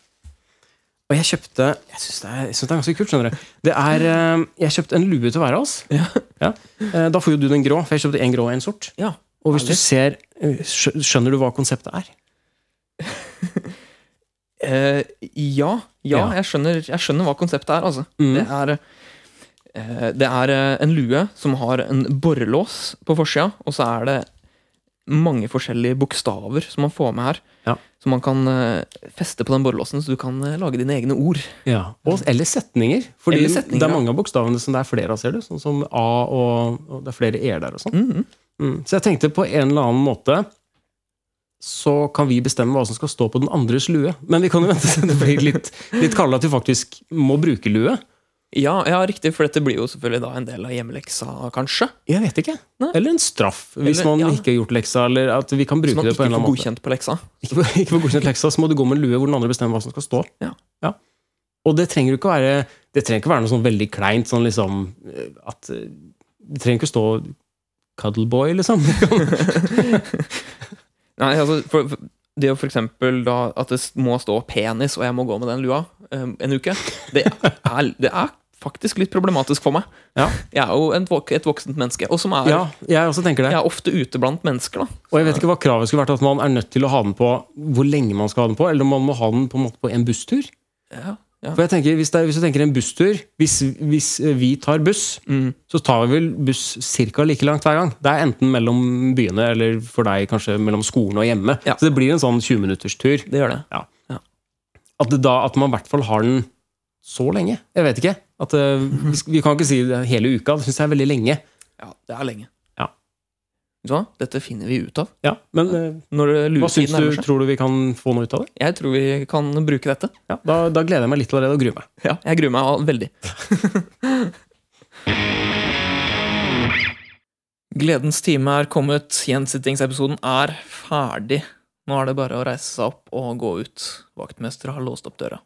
Speaker 2: Og jeg kjøpte Jeg syns det, er- jeg synes det er ganske kult, skjønner du. Det er, eh, jeg kjøpte en lue til hver av oss.
Speaker 3: Ja.
Speaker 2: Eh, da får jo du den grå, for jeg kjøpte en grå og en sort.
Speaker 3: Ja.
Speaker 2: Og hvis du
Speaker 3: Herlig.
Speaker 2: ser eh, skjø- Skjønner du hva konseptet er?
Speaker 3: Eh, ja, ja,
Speaker 2: Ja.
Speaker 3: jeg skjønner, jeg skjønner hva konseptet er, altså. Det
Speaker 2: Mm.
Speaker 3: er, eh, det er eh, en lue som har en borrelås på forsida, og så er det mange forskjellige bokstaver som man får med her.
Speaker 2: Ja.
Speaker 3: Som man kan eh, feste på den borrelåsen, så du kan eh, lage dine egne ord.
Speaker 2: Ja. Og, eller setninger. Fordi
Speaker 3: Eller setninger,
Speaker 2: det er
Speaker 3: ja.
Speaker 2: mange av bokstavene som det er flere av, ser du. Sånn som A og, og Det er flere E-er der og sånn.
Speaker 3: Mhm.
Speaker 2: Mm. Så jeg tenkte på en eller annen måte så kan vi bestemme hva som skal stå på den andres lue. Men vi kan jo vente til det blir litt, litt kaldere at vi faktisk må bruke lue.
Speaker 3: Ja, ja, riktig, for dette blir jo selvfølgelig da en del av hjemmeleksa, kanskje.
Speaker 2: Jeg vet ikke.
Speaker 3: Nei.
Speaker 2: Eller en straff, hvis
Speaker 3: Eller-
Speaker 2: man
Speaker 3: ja.
Speaker 2: ikke har gjort leksa. Eller at vi kan
Speaker 3: Så
Speaker 2: bruke
Speaker 3: man
Speaker 2: det
Speaker 3: ikke
Speaker 2: på
Speaker 3: får
Speaker 2: en eller annen måte.
Speaker 3: godkjent på leksa.
Speaker 2: Ikke får, ikke får godkjent leksa, så må du gå med en lue hvor den andre bestemmer hva som skal stå.
Speaker 3: Ja.
Speaker 2: Og det trenger jo ikke være Det trenger ikke være noe sånn veldig kleint, sånn liksom eh, at eh, Det trenger ikke stå Cuddleboy, liksom.
Speaker 3: Nei, altså, for, for, det å for eksempel da, at det s- må stå penis, og jeg må gå med den lua um, en uke, det er, det er faktisk litt problematisk for meg.
Speaker 2: Ja.
Speaker 3: Jeg er jo en, vok- et voksent menneske, og som er
Speaker 2: Ja, jeg også tenker det.
Speaker 3: Jeg er ofte ute blant mennesker, da.
Speaker 2: Og jeg vet ikke hva kravet skulle vært at man er nødt til å ha den på hvor lenge man skal ha den på, eller om man må ha den på en måte på en busstur.
Speaker 3: Ja,
Speaker 2: For jeg tenker, hvis, det er, hvis du tenker en busstur hvis, hvis eh, vi tar buss,
Speaker 3: mm.
Speaker 2: så tar vi vel buss ca. like langt hver gang. Det er enten mellom byene, eller for deg kanskje mellom skolen og hjemme.
Speaker 3: Ja.
Speaker 2: Så det blir en sånn 20-minutterstur.
Speaker 3: Det gjør det.
Speaker 2: At, det da- at man i hvert fall har den så lenge. Jeg vet ikke. At, eh, vi, sk- vi kan ikke si det hele uka. Det syns jeg er veldig lenge.
Speaker 3: Ja, det er lenge.
Speaker 2: Ja.
Speaker 3: Vet du hva? Dette finner vi ut av
Speaker 2: Ja, men eh,
Speaker 3: når
Speaker 2: hva
Speaker 3: luetiden
Speaker 2: syns du?
Speaker 3: nærmer seg.
Speaker 2: Tror du vi kan få noe ut av det?
Speaker 3: Jeg tror vi kan bruke dette.
Speaker 2: Ja, da, da gleder jeg meg litt allerede og gruer meg.
Speaker 3: Ja, jeg gruer meg veldig. Gledens time er kommet. Gjensittingsepisoden er ferdig. Nå er det bare å reise seg opp og gå ut. Vaktmester har låst opp døra.